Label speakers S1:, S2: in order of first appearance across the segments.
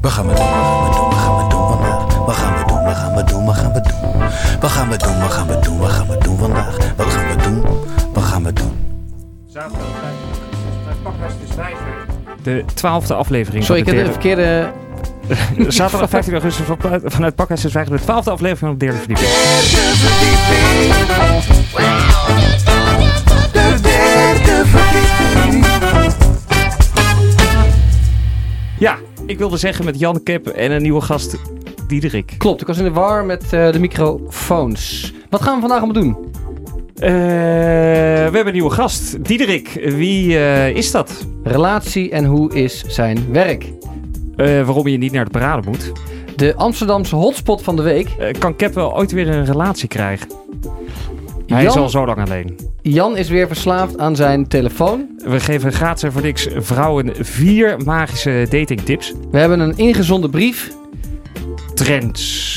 S1: Wat gaan we doen? Wat gaan we doen? Wat gaan we doen? Wat gaan we doen? Wat gaan we doen? Wat gaan we doen? Wat gaan we doen? Wat gaan we doen? Wat gaan we doen vandaag? Wat gaan we doen? Wat gaan we doen?
S2: Zaterdag bij, bij Pakhuis de Snijver.
S3: De twaalfde aflevering.
S4: Sorry, ik
S3: van
S4: heb
S3: de
S4: de verkeerde...
S3: derde- Zaterdag 15 augustus op- vanuit Pakhuis de Zwijger. De twaalfde aflevering van de derde verdieping. Ja, ik wilde zeggen met Jan Kep en een nieuwe gast, Diederik.
S4: Klopt, ik was in de war met eh, de microfoons. Wat gaan we vandaag allemaal doen?
S3: Eh, we hebben een nieuwe gast, Diederik. Wie eh, is dat?
S4: Relatie en hoe is zijn werk?
S3: Eh, waarom je niet naar de parade moet?
S4: De Amsterdamse hotspot van de week.
S3: Eh, kan Kep wel ooit weer een relatie krijgen? Hij
S4: Jan-
S3: is al zo lang alleen.
S4: Jan is weer verslaafd aan zijn telefoon.
S3: We geven gratis en voor niks vrouwen vier magische datingtips.
S4: We hebben een ingezonden brief.
S3: Trends.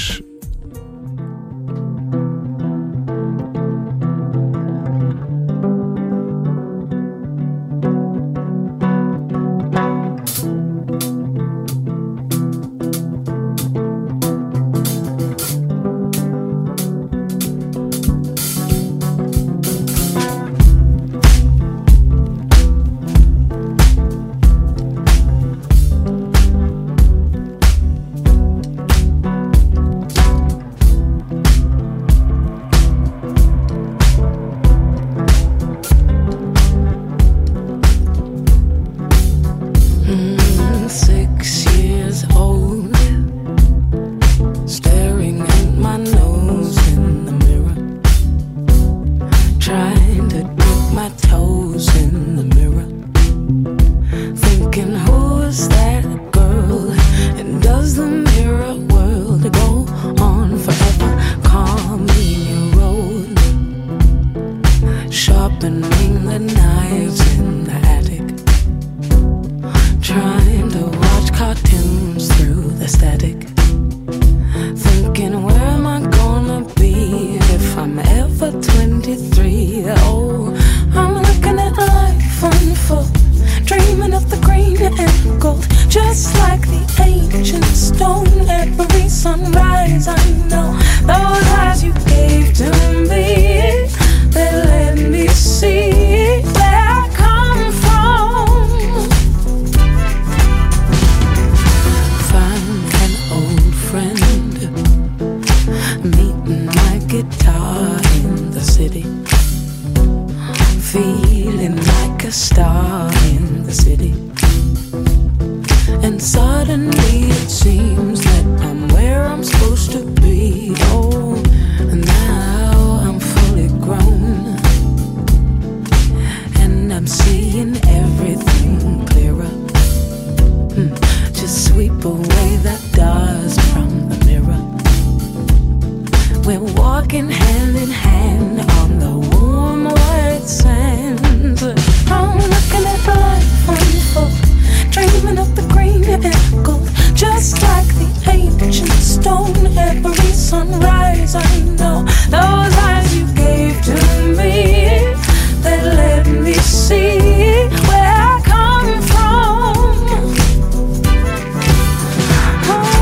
S5: Six years old, staring at my nose in the mirror, trying to dip my toes in the mirror, thinking, who's that girl? And does the mirror world go on forever? Call me your road, sharpening the knives in the attic trying to watch cartoons through the static. Thinking, where am I gonna be if I'm ever 23? Oh, I'm looking at life unfold, dreaming of the green and gold, just like the ancient stone. Every sunrise, I know those eyes you gave to me, they let me see where I come from. Find an old friend, meeting my guitar in the city, feeling like a star in the city. And suddenly it seems that I'm where I'm supposed to be. Oh, and now I'm fully grown, and I'm seeing everything clearer to sweep away the dust from the mirror. We're walking hand in hand on the warm white sands. I'm looking at the life unfold, dreaming of the green and gold, just like the ancient stone. Every sunrise, I know those eyes you gave to me that let me see where I come from. oh,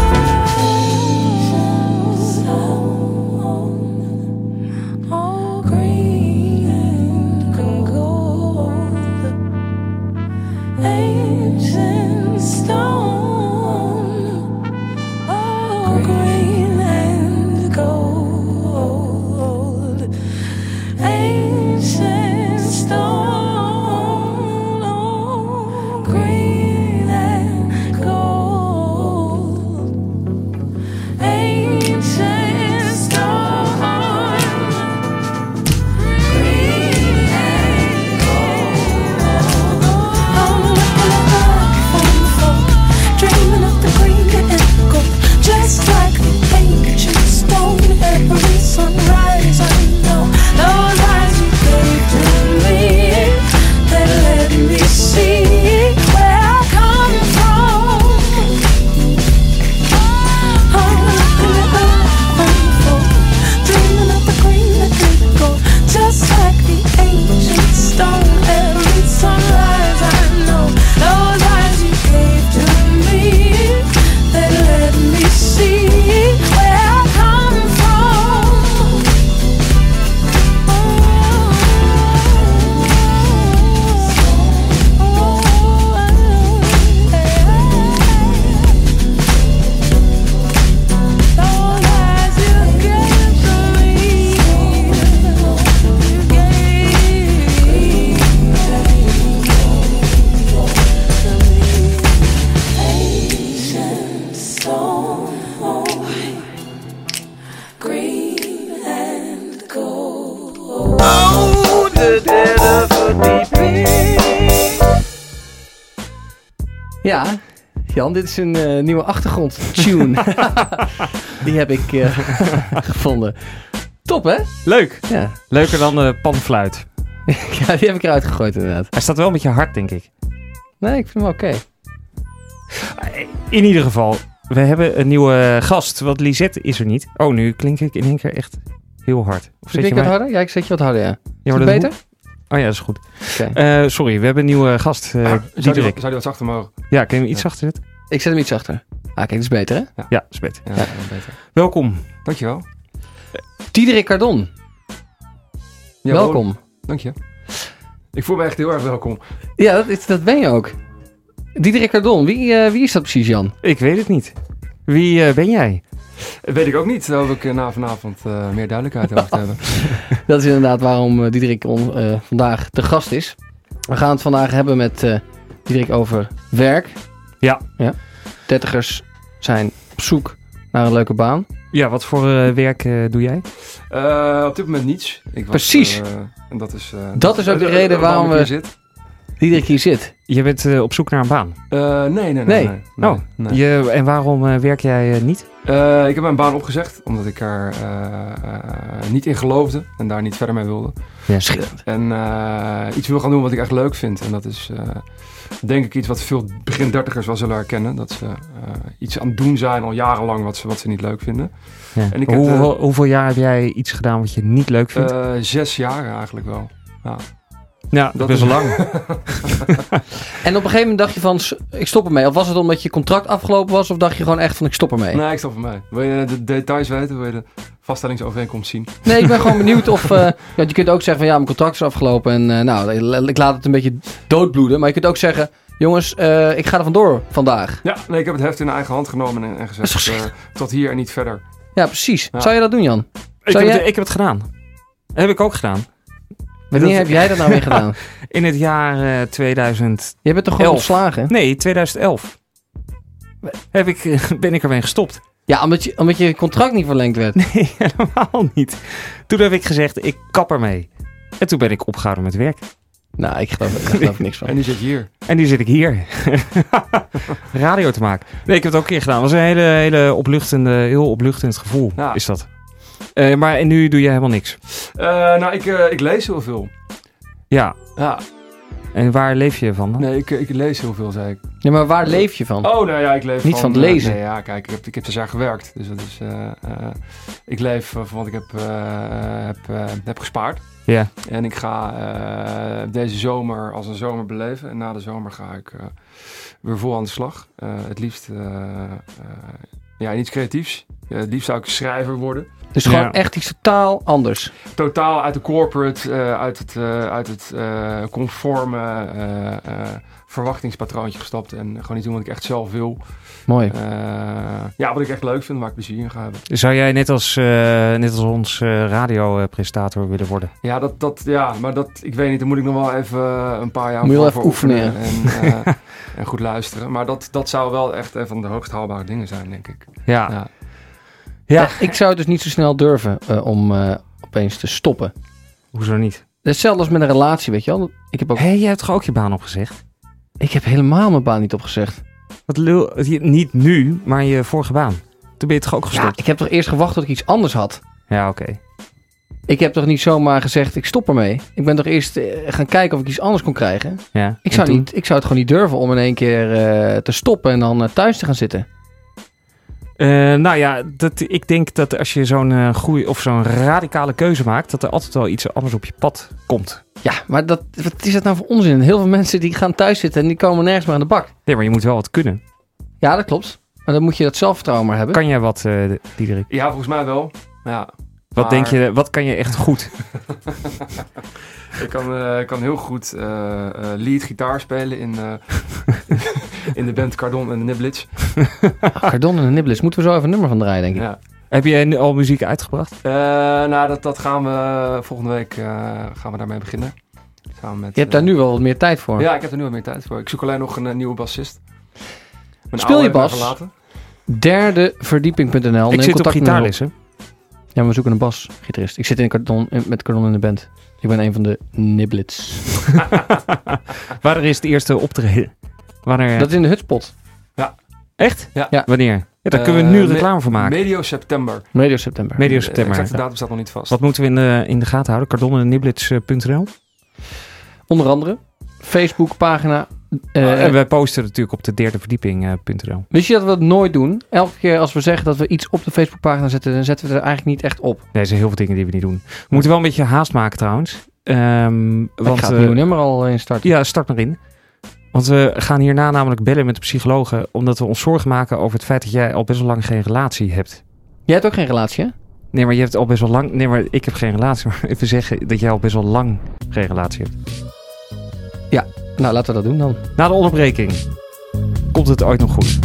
S4: Ja, Jan, dit is een eh, nieuwe achtergrondtune. Die heb ik eh, gevonden. Top, hè?
S3: Leuk.
S4: Ja.
S3: Leuker dan de panfluit.
S4: ja, die heb ik eruit gegooid inderdaad.
S3: Hij staat wel een beetje hard, denk ik.
S4: Nee, ik vind hem wel oké.
S3: In ieder geval, we hebben een nieuwe gast, want Lisette is er niet. Oh, nu klink ik in één keer echt heel hard. Of
S4: Zit ik wat
S3: mij-
S4: harder? Ja, ik zet je wat harder, ja.
S3: Ja,
S4: Is
S3: maar
S4: het
S3: dat
S4: beter?
S3: moet- Oh ja, dat is goed.
S4: Oké.
S3: Eh, sorry, we hebben een nieuwe gast, eh
S6: Ah, zou, die,
S3: Diederik.
S6: wat- zou die wat zachter mogen?
S3: Ja, kun je hem iets
S6: Ja.
S3: achter zetten?
S4: Ik zet hem iets achter. Ah, kijk, dat is beter, hè?
S3: Ja, is beter.
S6: Ja, dan beter.
S3: Welkom.
S6: Dankjewel.
S4: Diederik Cardon,
S6: Ja,
S4: welkom.
S6: Dank je. Ik voel me echt heel erg welkom.
S4: Ja, dat, is, dat ben je ook. Diederik Cardon, wie, eh, wie is dat precies, Jan?
S3: Ik weet het niet. Wie eh, ben jij?
S6: Eh, Weet ik ook niet. Daar hoop ik eh, na vanavond eh, meer duidelijkheid over te hebben.
S4: Dat is inderdaad waarom eh, Diederik on- eh, vandaag te gast is. We gaan het vandaag hebben met eh, Diederik over werk.
S3: Ja.
S4: ja. Dertigers zijn op zoek naar een leuke baan.
S3: Ja, wat voor eh, werk eh, doe jij?
S6: Eh, op dit moment niets. Ik was,
S4: Precies.
S6: eh, en dat is, eh,
S4: Dat is ook de
S6: eh,
S4: reden waarom
S6: ik hier
S4: we-
S6: zit.
S4: Diederik hier zit.
S3: Je bent eh, op zoek naar een baan.
S6: Eh, nee, nee, nee.
S4: Nee.
S6: nee, nee,
S3: Oh,
S6: nee.
S3: Je, en waarom eh, werk jij eh, niet?
S6: Eh, ik heb mijn baan opgezegd, omdat ik er eh, eh, niet in geloofde en daar niet verder mee wilde.
S3: Ja.
S6: En eh, iets wil gaan doen wat ik echt leuk vind. En dat is eh, denk ik iets wat veel begin dertigers wel zullen herkennen. Dat ze eh, iets aan het doen zijn al jarenlang wat ze, wat ze niet leuk vinden.
S3: Ja.
S6: En ik heb,
S3: Hoeveel, hoeveel jaar heb jij iets gedaan wat je niet leuk vindt?
S6: Eh, zes jaar eigenlijk wel.
S3: ja,
S6: dat
S3: best
S6: is-
S3: wel lang.
S4: En op een gegeven moment dacht je van, s- ik stop ermee. Of was het omdat je contract afgelopen was? Of dacht je gewoon echt van, ik stop ermee?
S6: Nee, ik stop van mij. Wil je de details weten? Wil je de vaststellingsovereenkomst zien?
S4: Nee, ik ben gewoon benieuwd of... eh, want je kunt ook zeggen van, ja, mijn contract is afgelopen. En eh, nou, ik- ik laat het een beetje doodbloeden. Maar je kunt ook zeggen, jongens, eh, ik ga er vandoor vandaag.
S6: Ja, nee, ik heb het heft in eigen hand genomen en, en
S4: Dat is
S6: gezegd eh, tot hier en niet verder.
S4: Ja, precies.
S6: Ja.
S4: Zou je dat doen, Jan?
S3: Ik
S4: Zou
S3: heb,
S4: jij-
S3: het, ik heb het gedaan. Dat heb ik ook gedaan.
S4: Wanneer
S3: Dat-
S4: heb jij dat nou weer gedaan?
S3: In het jaar eh, 2000.
S4: Je bent toch gewoon
S3: Elf.
S4: ontslagen?
S3: Nee, 2011. Heb ik, eh, ben ik ermee gestopt.
S4: Ja, omdat je, omdat je contract niet verlengd werd.
S3: Nee, helemaal niet. Toen heb ik gezegd, ik kap ermee. En toen ben ik opgehouden met werk.
S4: Nou, ik geloof, ik geloof er niks
S6: En
S4: van.
S6: nu zit je hier.
S3: En nu zit ik hier. Radio te maken. Nee, ik heb het ook een keer gedaan. Het was een hele, hele opluchtende, heel opluchtend gevoel,
S6: Ja.
S3: is dat. Eh, maar en nu doe je helemaal niks.
S6: Eh, nou, ik, eh, ik lees heel veel.
S3: Ja,
S6: Ja,
S3: en waar leef je van dan?
S6: nee, ik, ik lees heel veel, zei ik.
S4: Ja, maar waar leef je van?
S6: Oh, nou ja, ik leef
S4: Niet van het
S6: eh,
S4: lezen.
S6: nee, ja, kijk, ik heb, ik heb zes jaar gewerkt. Dus dat is... eh, eh, ik leef eh, van wat ik heb, eh, heb, eh, heb gespaard.
S3: Ja.
S6: En ik ga eh, deze zomer als een zomer beleven. En na de zomer ga ik eh, weer vol aan de slag. Eh, het liefst... eh eh, ja, in iets creatiefs. Eh, het liefst zou ik schrijver worden.
S4: Dus gewoon
S3: Ja.
S4: echt iets totaal anders.
S6: Totaal uit de corporate, eh, uit het, eh, uit het eh, conforme eh, eh, verwachtingspatroontje gestapt. En gewoon iets doen wat ik echt zelf wil.
S4: Mooi.
S6: Eh, ja, wat ik echt leuk vind, waar ik plezier in ga hebben.
S3: Zou jij net als, eh, net als ons eh radiopresentator willen worden?
S6: Ja, dat, dat, ja, maar dat, ik weet niet, daar moet ik nog wel even eh, een paar jaar
S4: Moet je wel
S6: voor-
S4: even
S6: voor
S4: oefenen,
S6: En, eh, en goed luisteren. Maar dat, dat zou wel echt een van de hoogst haalbare dingen zijn, denk ik.
S3: Ja.
S6: Ja.
S3: Ja.
S4: Ja. Ik zou het dus niet zo snel durven eh, om eh, opeens te stoppen. Dat
S3: Hoezo niet?
S4: is Hetzelfde als met een relatie, weet je wel. Ik heb, ook,
S3: Hé, hey, jij hebt toch ook je baan opgezegd?
S4: ik heb helemaal mijn baan niet opgezegd.
S3: Wat lul, je- niet nu, maar je vorige baan. Toen ben je toch ook
S4: Ja,
S3: gestopt?
S4: ik heb toch eerst gewacht tot ik iets anders had.
S3: Ja, oké.
S4: Ik heb toch niet zomaar gezegd, ik stop ermee. Ik ben toch eerst eh, gaan kijken of ik iets anders kon krijgen.
S3: Ja.
S4: Ik
S3: En
S4: zou,
S3: toen?
S4: niet, ik zou het gewoon niet durven om in één keer eh, te stoppen en dan eh, thuis te gaan zitten.
S3: Eh, nou ja, dat, ik denk dat als je zo'n eh, goeie of zo'n radicale keuze maakt, dat er altijd wel iets anders op je pad komt.
S4: Ja, maar dat, wat is dat nou voor onzin? Heel veel mensen die gaan thuis zitten en die komen nergens meer aan de bak.
S3: Nee, maar je moet wel wat kunnen.
S4: Ja, dat klopt. Maar dan moet je dat zelfvertrouwen maar hebben.
S3: Kan jij wat, eh, Diederik?
S6: Ja, volgens mij wel. Ja,
S3: Wat
S6: Maar-
S3: denk je, wat kan je echt goed?
S6: ik kan, eh, ik kan heel goed eh, eh, lead gitaar spelen in, eh, in de band Cardon en de Niblitz.
S4: Cardon Ah, en de Nibbles, moeten we zo even een nummer van draaien, denk ik.
S6: Ja.
S3: Heb je nu al muziek uitgebracht?
S6: Eh, nou, dat, dat gaan we volgende week eh, gaan we daarmee beginnen. Samen met,
S4: Je hebt daar
S6: eh,
S4: nu wel wat meer tijd voor.
S6: Ja, ik heb er nu wat meer tijd voor. Ik zoek alleen nog een, eh, nieuwe bassist. Mijn
S4: Speel
S6: oude
S4: je
S6: heb ik
S4: bas?
S6: verlaten.
S4: Derdeverdieping.nl. Neem
S3: ik zit op dus.
S4: contact met me
S3: gitaarlessen.
S4: op. Ja, maar we zoeken een basgitarist. Ik zit in Cardon, in- met Cardon in de band. Ik ben een van de Niblets.
S3: Waar is het eerste optreden? Wanneer?
S4: Dat is in de hutspot.
S3: Echt?
S6: Ja.
S4: Ja.
S3: Wanneer? Ja, daar kunnen we
S6: Eh,
S3: nu
S6: me-
S3: reclame voor maken. Eh,
S6: Medio september.
S4: Medio september.
S3: Medio
S6: De
S3: september.
S6: exacte datum staat nog niet vast.
S3: Wat moeten we in de, in de gaten houden? Cardonneniblitz.nl
S4: Onder andere Facebookpagina. eh,
S3: Eh, en wij posten natuurlijk op de derde eh, verdieping.nl.
S4: Wist je dat we dat nooit doen? Elke keer als we zeggen dat we iets op de Facebookpagina zetten, dan zetten we het er eigenlijk niet echt op.
S3: nee, er zijn heel veel dingen die we niet doen. We moeten wel een beetje haast maken trouwens. Ehm,
S4: Want,
S3: want,
S4: ik ga het
S3: eh,
S4: nieuwe nummer al in starten.
S3: Ja, start maar in. Want we gaan hierna namelijk bellen met de psychologen. Omdat we ons zorgen maken over het feit dat jij al best wel lang geen relatie hebt.
S4: Jij hebt ook geen relatie, hè?
S3: Nee, maar je hebt al best wel lang. Nee, maar ik heb geen relatie. Maar even zeggen dat jij al best wel lang geen relatie hebt.
S4: Nou, laten we dat doen dan.
S3: Na de onderbreking komt het ooit nog goed.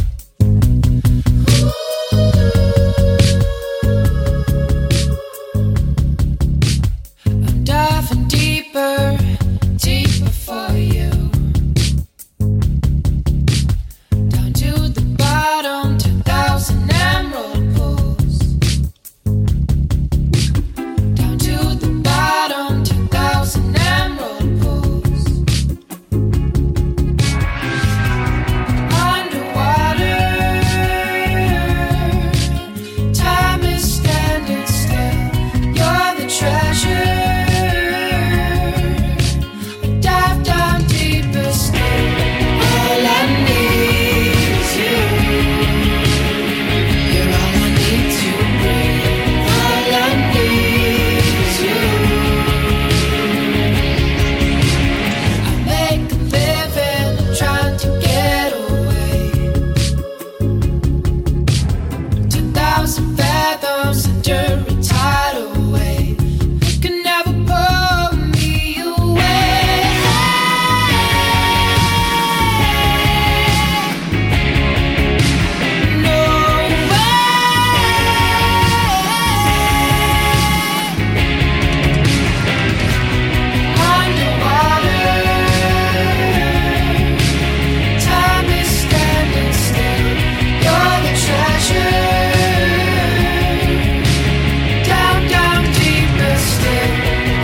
S5: diving deeper, deeper for you. Down to the bottom, 2,000 emerald pools. Down to the bottom, 2,000 emerald pools. Underwater, time is standing still. You're the treasure. I dive down deeper still. All I need is you. You're all I need to breathe. All I need is you. I make a living trying to get away. Two thousand fathoms under a tidal wave. You can never pull me away. No way. Underwater, time is standing still. You're the treasure. Down, down, deeper still.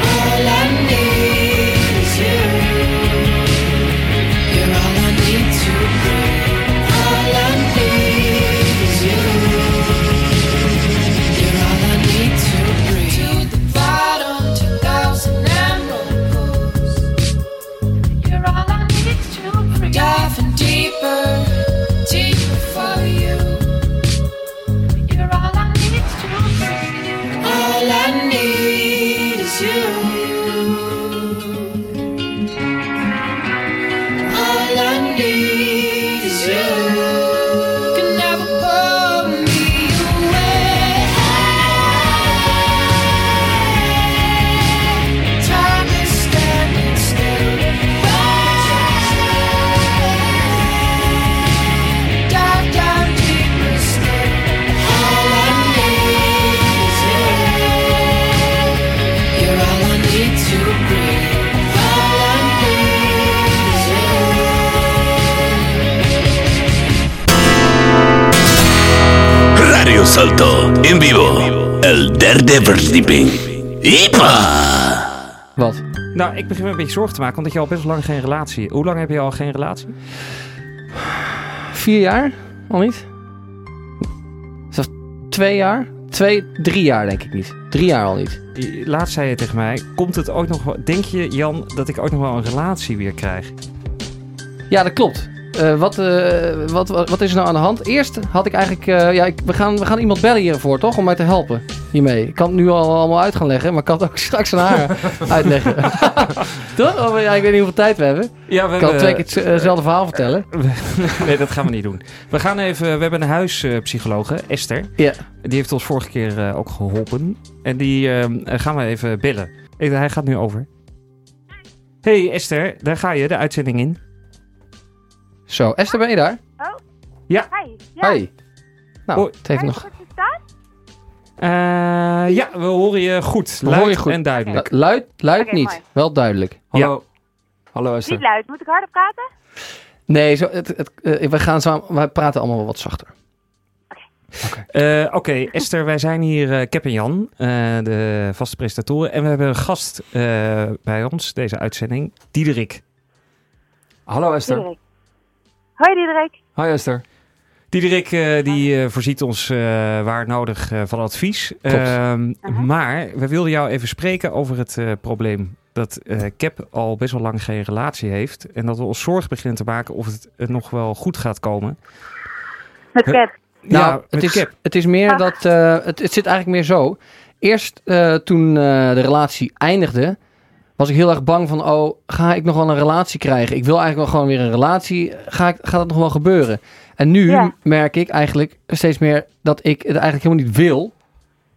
S5: All I need is you. You're all I need to breathe. All I need is you. You're all I need to breathe. To the bottom, two thousand emerald pools. You're all I need to breathe. Diving deeper, deeper for you. You're all I need to breathe. All I need is you. All I need is you. Can never pull me away. Time is standing still. Dive down deeper still. All I need is you. You're all I need to breathe. All I need is
S1: Radio Salto, en vivo, el derde verdieping. ¡Ipa!
S4: Wat?
S3: Nou, ik begin me een beetje zorgen te maken. Omdat je al best wel lang geen relatie Hoe lang heb je al geen relatie?
S4: Vier jaar? Al niet? Zelfs twee jaar? Twee, drie jaar denk ik niet. Drie jaar al niet.
S3: I- Laatst zei je tegen mij: Komt het ooit nog wel. Denk je, Jan, dat ik ooit nog wel een relatie weer krijg?
S4: Ja, dat klopt. Eh, wat, eh, wat, wat, wat is er nou aan de hand? Eerst had ik eigenlijk... eh, ja, ik, we, gaan, we gaan iemand bellen hiervoor, toch? Om mij te helpen hiermee. Ik kan het nu al allemaal uit gaan leggen, maar ik kan het ook straks aan haar uitleggen. toch? Of, ja, ik weet niet hoeveel tijd we hebben.
S3: Ja, we
S4: Ik kan twee keer het, eh, hetzelfde verhaal vertellen.
S3: nee, dat gaan we niet doen. We gaan even. We hebben een huispsychologe, Esther.
S4: Ja.
S3: Die heeft ons vorige keer eh, ook geholpen. En die eh, gaan we even bellen. Eh, hij gaat nu over. Hey Esther, daar ga je de uitzending in.
S4: Zo, Esther, ben je daar?
S7: Oh. Hi. Ja,
S4: Hoi. Nou,
S3: Hoi.
S4: het heeft
S7: ben ik
S4: nog...
S7: goed verstaan?
S3: Eh, ja, we horen je goed.
S4: We horen
S3: luid
S4: je goed.
S3: en duidelijk.
S4: Eh, luid luid
S7: Oké,
S4: niet.
S7: mooi.
S4: Wel duidelijk.
S6: Hallo. Hallo Esther.
S7: Niet luid. Moet ik harder praten?
S4: Nee, zo, het, het, eh, we, gaan samen, we praten allemaal wel wat zachter.
S3: Eh, Oké, Esther, wij zijn hier eh Cap en Jan, eh, de vaste presentatoren. En we hebben een gast eh, bij ons, deze uitzending, Diederik.
S6: Hallo Esther.
S7: Direct. Hoi Diederik.
S6: Hi Esther.
S3: Diederik eh, die eh, voorziet ons eh, waar nodig eh, van advies. Ehm,
S4: Mhm.
S3: Maar we wilden jou even spreken over het eh, probleem dat eh Cap al best wel lang geen relatie heeft. En dat we ons zorgen beginnen te maken of het eh, nog wel goed gaat komen.
S7: Met
S3: Huh?
S7: Cat.
S4: Nou,
S3: ja,
S4: het,
S3: met
S4: is,
S3: Cap.
S4: het is meer dat. eh, het, het zit eigenlijk meer zo. Eerst eh, toen eh, de relatie eindigde. Was ik heel erg bang van, oh, ga ik nog wel een relatie krijgen? Ik wil eigenlijk wel gewoon weer een relatie. Ga ik, gaat dat nog wel gebeuren? En nu
S7: Ja.
S4: merk ik eigenlijk steeds meer dat ik het eigenlijk helemaal niet wil.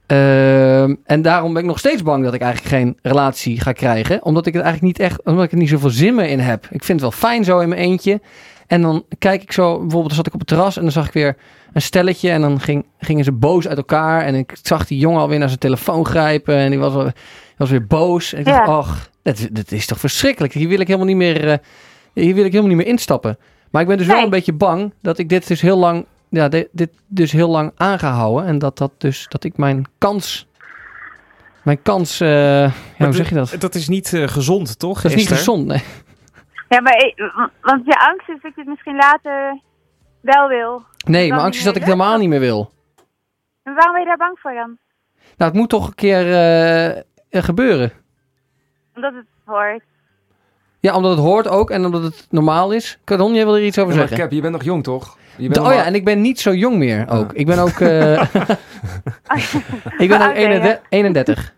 S4: Ehm, en daarom ben ik nog steeds bang dat ik eigenlijk geen relatie ga krijgen. Omdat ik het eigenlijk niet echt, omdat ik er niet zoveel zin meer in heb. Ik vind het wel fijn zo in mijn eentje. En dan kijk ik zo, bijvoorbeeld dan zat ik op het terras en dan zag ik weer een stelletje. En dan ging, gingen ze boos uit elkaar. En ik zag die jongen alweer naar zijn telefoon grijpen. En die was, al- die was weer boos. En ik dacht,
S7: Ja.
S4: ach, dat, dat is toch verschrikkelijk. Hier wil ik helemaal niet meer, eh, hier wil ik helemaal niet meer instappen. Maar ik ben dus wel
S7: Nee.
S4: een beetje bang dat ik dit dus heel lang, ja, dit, dit dus heel lang aangehouden. En dat, dat, dus, dat ik mijn kans, mijn kans, eh, ja,
S3: Maar
S4: hoe zeg je dat?
S3: Dat is niet eh, gezond, toch?
S4: Dat is niet
S3: Esther?
S4: gezond, nee.
S7: Ja, maar ik- want je angst is dat je het misschien later wel wil.
S4: Nee,
S7: kan
S4: mijn angst is
S7: niet
S4: dat ik het
S7: meer, hè?
S4: helemaal niet meer wil.
S7: Maar waarom ben je daar bang voor dan?
S4: Nou, het moet toch een keer eh, eh, gebeuren.
S7: Omdat het hoort.
S4: Ja, omdat het hoort ook en omdat het normaal is. Cardon, jij wil er iets over
S6: Ja, maar
S4: zeggen?
S6: Cap, je bent nog jong toch? Je bent
S4: De-
S6: nog
S4: oh ja,
S6: maar-
S4: en ik ben niet zo jong meer ook.
S6: Ja.
S4: Ik ben ook... eh, ik ben ook
S7: Oké, ja.
S4: 31, 31.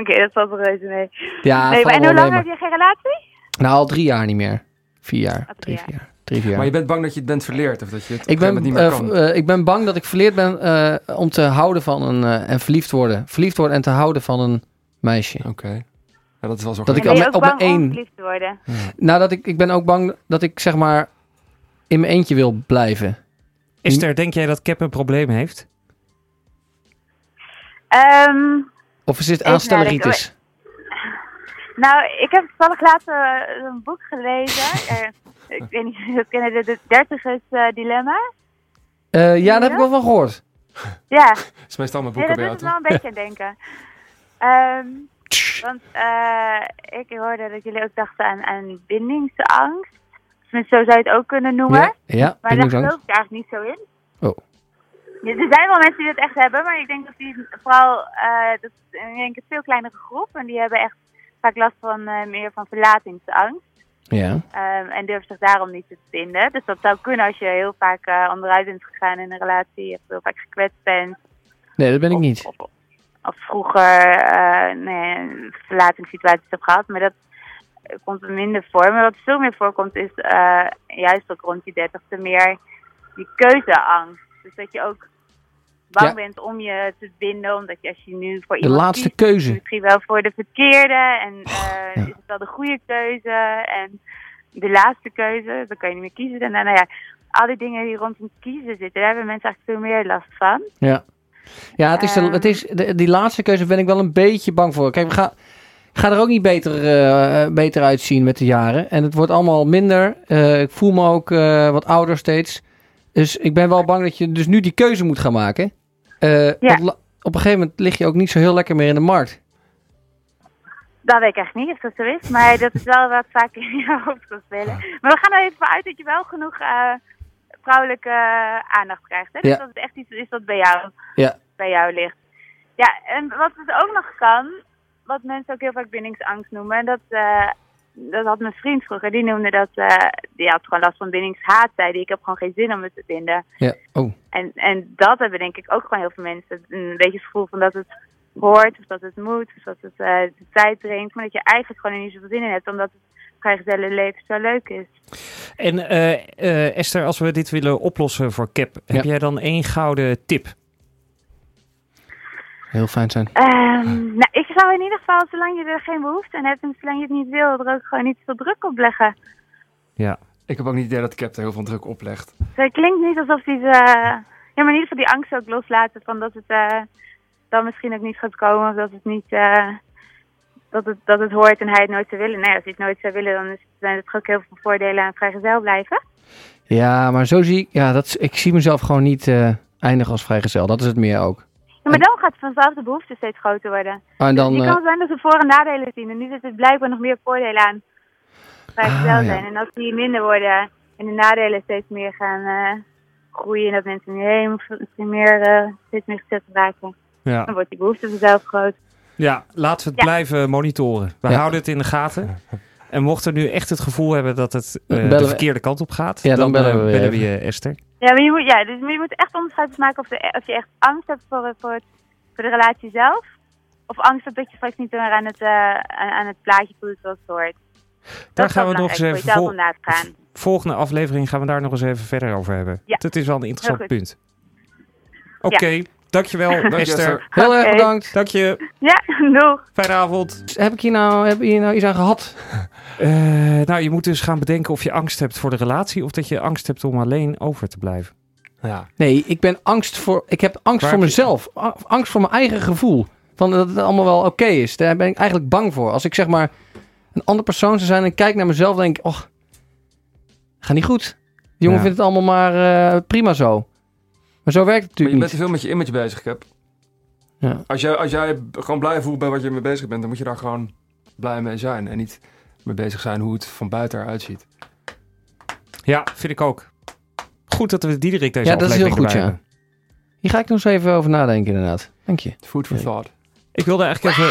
S7: Oké, dat valt er reuze mee.
S4: Ja,
S7: nee, maar
S4: Ah, valt wel
S7: en hoe
S4: mee,
S7: lang
S4: maar-
S7: heb je geen relatie?
S4: Nou, al drie jaar niet meer. Vier jaar.
S7: Al
S4: Drie,
S7: drie
S4: vier jaar. Drie, vier jaar.
S6: Maar je bent bang dat je het bent verleerd of dat je het op
S4: Ik
S6: een gegeven
S4: ben,
S6: moment niet meer
S4: eh,
S6: kan.
S4: v- eh, ik ben bang dat ik verleerd ben eh, om te houden van een... eh, en verliefd worden. Verliefd worden en te houden van een meisje.
S6: Oké. Ja, dat is wel zo.
S4: eh, Dat
S7: En
S4: ik
S7: ben
S4: al
S7: je
S4: met-
S7: ook
S4: op mijn
S7: bang om
S4: één-
S7: verliefd te worden?
S4: Nou, dat ik, ik ben ook bang dat ik zeg maar in mijn eentje wil blijven.
S3: Esther, denk jij dat Cap een probleem heeft?
S7: Ehm,
S4: Of is dit
S7: Even
S4: aanstelleritis?
S7: nou, ik heb toevallig laatst eh, een boek gelezen. Eh, ik weet niet, we kennen de, de dertigers eh, dilemma.
S4: Eh, ja, daar heb ik wel van gehoord.
S7: Ja,
S6: Het is meestal mijn
S7: nee,
S6: boeken
S7: dat
S6: bij
S7: doet
S6: jou,
S7: het
S6: toch?
S7: wel een beetje aan denken. Ehm, want eh, ik hoorde dat jullie ook dachten aan, aan bindingsangst. Tenminste, zo zou je het ook kunnen noemen.
S4: Ja, ja
S7: Maar daar
S4: bindingsangst.
S7: geloof ik eigenlijk niet zo in.
S4: Oh.
S7: Ja, er zijn wel mensen die dat echt hebben, maar ik denk dat die vooral, eh, dat is eh, ik denk een veel kleinere groep. En die hebben echt vaak last van eh, meer van verlatingsangst.
S4: Ja.
S7: ehm, en durven zich daarom niet te vinden. Dus dat zou kunnen als je heel vaak eh, onderuit bent gegaan in een relatie. Of heel vaak gekwetst bent.
S4: Nee, dat ben ik niet.
S7: Of, of, of vroeger eh nee, een verlatingssituaties hebt gehad. Maar dat eh, komt er minder voor. Maar wat veel meer voorkomt is eh, juist ook rond je dertigste meer die keuzeangst. Dus dat je ook bang
S4: Ja.
S7: bent om je te binden. Omdat je als je nu voor
S4: De
S7: iemand
S4: laatste
S7: kiest,
S4: keuze. Oh,
S7: Misschien wel voor de verkeerde. En eh,
S4: ja.
S7: is het wel de goede keuze? En de laatste keuze, dan kan je niet meer kiezen. En dan, nou ja, al die dingen die rondom kiezen zitten, daar hebben mensen eigenlijk veel meer last van.
S4: Ja, ja het is de,
S7: Ehm.
S4: het is de- die laatste keuze ben ik wel een beetje bang voor. Kijk, we gaan, ga er ook niet beter, eh, beter uitzien met de jaren. En het wordt allemaal minder. Eh, ik voel me ook eh, wat ouder steeds. Dus ik ben wel bang dat je dus nu die keuze moet gaan maken. Eh, want la- op een gegeven moment lig je ook niet zo heel lekker meer in de markt.
S7: Dat weet ik echt niet of dat zo is, maar dat is wel wat vaak in je hoofd kan spelen. Maar we gaan er even vanuit dat je wel genoeg eh, vrouwelijke eh, aandacht krijgt. Hè? Dus
S4: Ja.
S7: dat het echt iets is dat bij jou,
S4: Ja.
S7: bij jou ligt. Ja, en wat het ook nog kan, wat mensen ook heel vaak bindingsangst noemen, en dat, eh, dat had mijn vriend vroeger, die noemde dat, eh, die had gewoon last van bindingshaat, zei die, ik heb gewoon geen zin om me te binden.
S4: Ja, oh.
S7: En, en dat hebben denk ik ook gewoon heel veel mensen. Een beetje het gevoel van dat het hoort, of dat het moet, of dat het eh, de tijd dringt. Maar dat je eigenlijk gewoon er niet zoveel zin in hebt, omdat het vrijgezellen leven zo leuk is.
S3: En eh, eh, Esther, als we dit willen oplossen voor Cap, heb
S4: Ja.
S3: jij dan één gouden tip?
S4: Heel fijn zijn.
S7: Ehm, nou, ik zou in ieder geval, zolang je er geen behoefte aan hebt en zolang je het niet wil, er ook gewoon niet veel druk op leggen.
S3: Ja.
S6: Ik heb ook niet het idee dat Cap er heel veel druk op legt.
S7: Dus het klinkt niet alsof die eh ja, maar in ieder geval die angst ook loslaten van dat het eh, dan misschien ook niet gaat komen of dat het niet... eh, dat het, dat het hoort en hij het nooit zou willen. Nou ja, als hij het nooit zou willen, dan is, zijn er toch ook heel veel voordelen aan vrijgezel blijven.
S4: Ja, maar zo zie ik... Ja, dat, is- ik zie mezelf gewoon niet eh eindigen als vrijgezel. Dat is het meer ook.
S7: Ja, maar dan gaat vanzelf de behoefte steeds groter worden.
S4: Ah, En dan...
S7: je
S4: eh,
S7: kan zijn dat ze voor- en nadelen zien. En nu zit er blijkbaar nog meer voordelen aan. Bij
S4: Ah,
S7: het wel
S4: ja.
S7: zijn. En als die minder worden, in de nadelen steeds meer gaan eh, groeien. En dat mensen om je heen misschien meer, eh, steeds meer gezet raken.
S3: Ja.
S7: Dan wordt die behoefte vanzelf groot.
S3: Ja, laten we het
S7: Ja.
S3: blijven monitoren. We
S4: Ja.
S3: houden het in de gaten. En mochten we nu echt het gevoel hebben dat het eh,
S4: Bellen
S3: de
S4: we-
S3: verkeerde kant op gaat,
S4: Ja, dan bellen
S3: eh,
S4: we weer
S3: bellen
S4: even.
S3: je Esther.
S7: Ja, maar je moet, ja, dus je moet echt onderscheid maken of, de, of je echt angst hebt voor, het- voor, het, voor de relatie zelf. Of angst hebt dat je straks niet meer aan het, eh, aan, aan het plaatje voelt zoals het hoort.
S3: Daar
S7: is
S3: gaan we
S7: wel
S3: nog eens
S7: belangrijk,
S3: even
S7: Voor jezelf
S3: vol-
S7: vandaag gaan.
S3: Volgende aflevering gaan we daar nog eens even verder over hebben.
S7: Ja.
S3: Dat is wel een interessant
S7: Heel goed.
S3: punt. Oké, dankjewel
S6: Dank je,
S3: Esther.
S6: Esther.
S4: Heel erg
S7: Oké.
S4: bedankt.
S3: Dank je.
S7: Ja, doeg.
S3: Fijne avond.
S4: Heb ik hier nou, heb ik hier nou iets aan gehad?
S3: Eh, nou, je moet dus gaan bedenken of je angst hebt voor de relatie of dat je angst hebt om alleen over te blijven.
S6: Ja.
S4: Nee, ik ben angst voor. Ik heb angst
S3: Waar heb
S4: voor
S3: je-
S4: mezelf. A- Angst voor mijn eigen gevoel. Van dat het allemaal wel oké is. Daar ben ik eigenlijk bang voor. Als ik zeg maar een ander persoon zou zijn en kijk naar mezelf, denk ik, och, gaat niet goed. Die jongen
S3: Ja.
S4: vindt het allemaal maar eh, prima zo. Maar zo werkt het
S6: Maar je
S4: natuurlijk
S6: bent
S4: niet.
S6: te veel met je image bezig, Cap.
S4: Ja.
S6: Als, jij, als jij gewoon blij voelt bij wat je mee bezig bent, dan moet je daar gewoon blij mee zijn. En niet mee bezig zijn hoe het van buiten eruit ziet.
S3: Ja, vind ik ook. Goed dat we Diederik deze
S4: Ja, dat is heel
S3: aflevering
S4: goed,
S3: erbij
S4: ja.
S3: hebben.
S4: Hier ga ik nog eens even over nadenken, inderdaad. Dank je.
S6: Food for thought.
S3: Ik wilde eigenlijk even...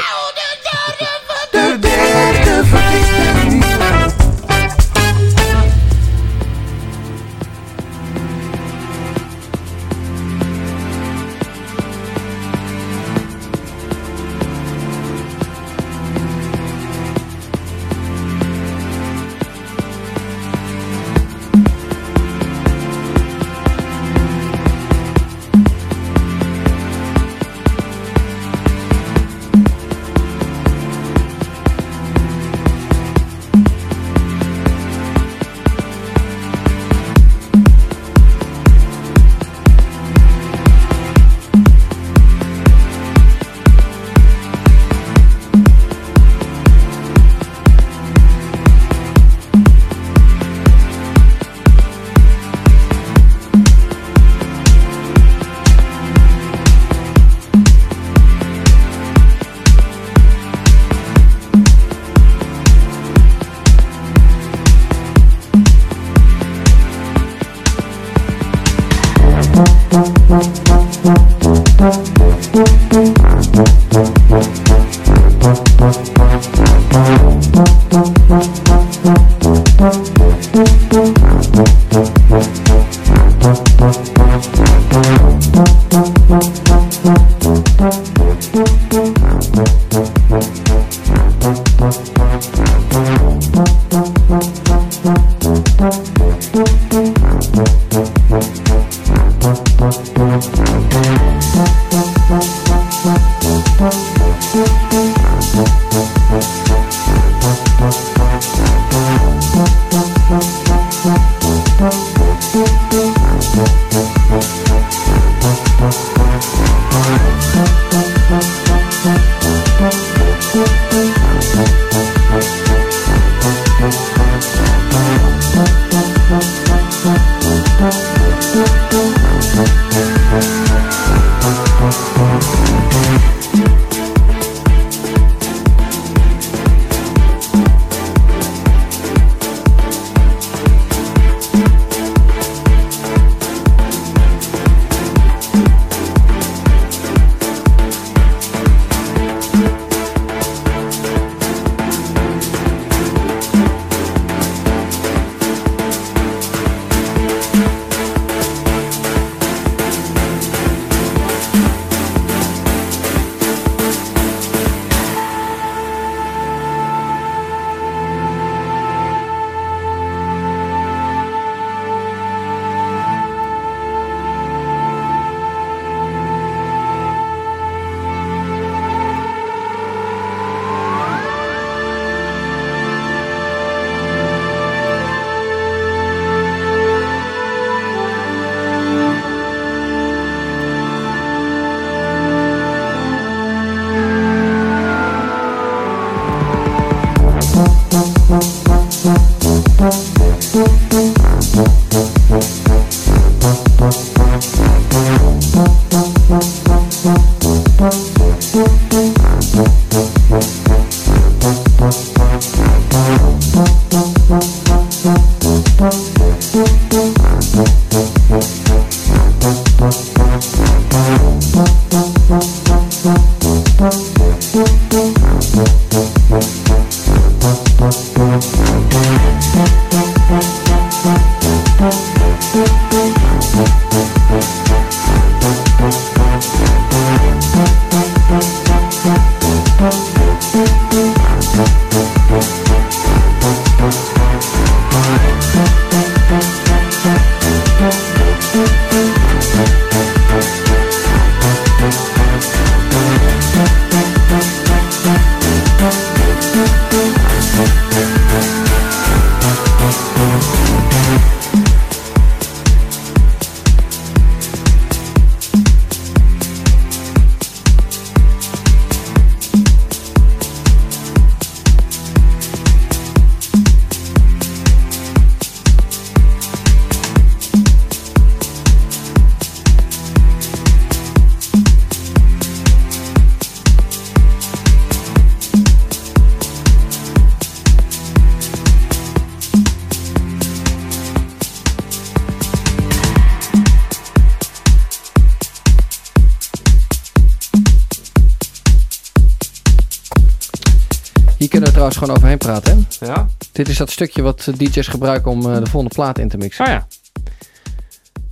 S4: trouwens gewoon overheen praten. Hè?
S6: Ja?
S4: Dit is dat stukje wat eh, DJ's gebruiken om eh, de volgende plaat in te mixen.
S3: Oh ja.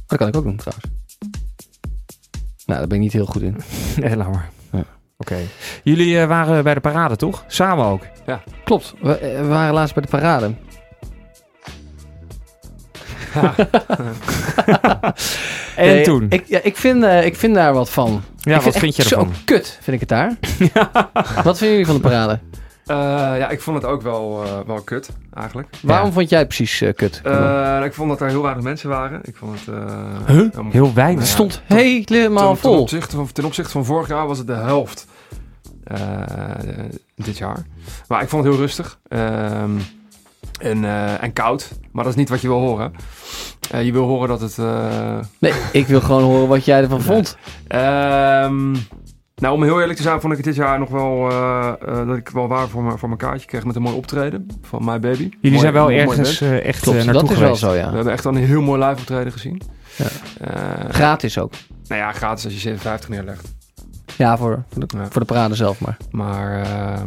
S4: Dat kan ik ook doen trouwens. Nou, daar ben ik niet heel goed in.
S3: Nee, laat maar.
S4: Ja.
S3: Oké. Jullie eh, waren bij de parade, toch? Samen ook.
S4: Klopt, we, eh, we waren laatst bij de parade.
S3: En
S4: Nee,
S3: toen?
S4: Ik, ja, ik, vind, eh, ik vind daar wat van.
S3: ja,
S4: ik
S3: wat vind je
S4: echt
S3: ervan?
S4: Zo kut vind ik het daar. Wat vinden jullie van de parade?
S6: Eh, ja, ik vond het ook wel, eh, wel kut, eigenlijk.
S4: Waarom vond jij het precies eh, kut?
S6: Eh, ik vond dat er heel weinig mensen waren. Ik vond het... eh, om-
S3: Heel weinig.
S6: Nou
S4: het
S6: ja,
S4: stond
S6: ten-
S4: helemaal
S6: ten, ten,
S4: vol.
S6: opzichte van, ten opzichte van vorig jaar was het de helft. eh, eh, dit jaar. Maar ik vond het heel rustig. ehm, en, eh, en koud. Maar dat is niet wat je wil horen. Eh, je wil horen dat het... eh,
S4: Nee, ik wil gewoon horen wat jij ervan
S6: Nee.
S4: vond.
S6: Ehm, nou, om heel eerlijk te zijn, vond ik het dit jaar nog wel eh, eh, dat ik wel waar voor, mijn- voor mijn kaartje kreeg met een mooi optreden van My Baby.
S3: Jullie
S6: Mooi-
S3: zijn wel
S6: mooi
S3: ergens
S6: band.
S3: eh, echt eh,
S4: Klopt,
S3: naartoe
S4: dat is wel
S3: geweest.
S4: zo,
S6: We
S4: ja.
S6: hebben echt wel een heel mooi live optreden gezien.
S4: Ja.
S6: Eh,
S4: Gratis ook.
S6: nou ja, gratis als je 57 neerlegt.
S4: Ja, voor, voor, de,
S6: Ja.
S4: voor de parade zelf maar.
S6: Maar, eh,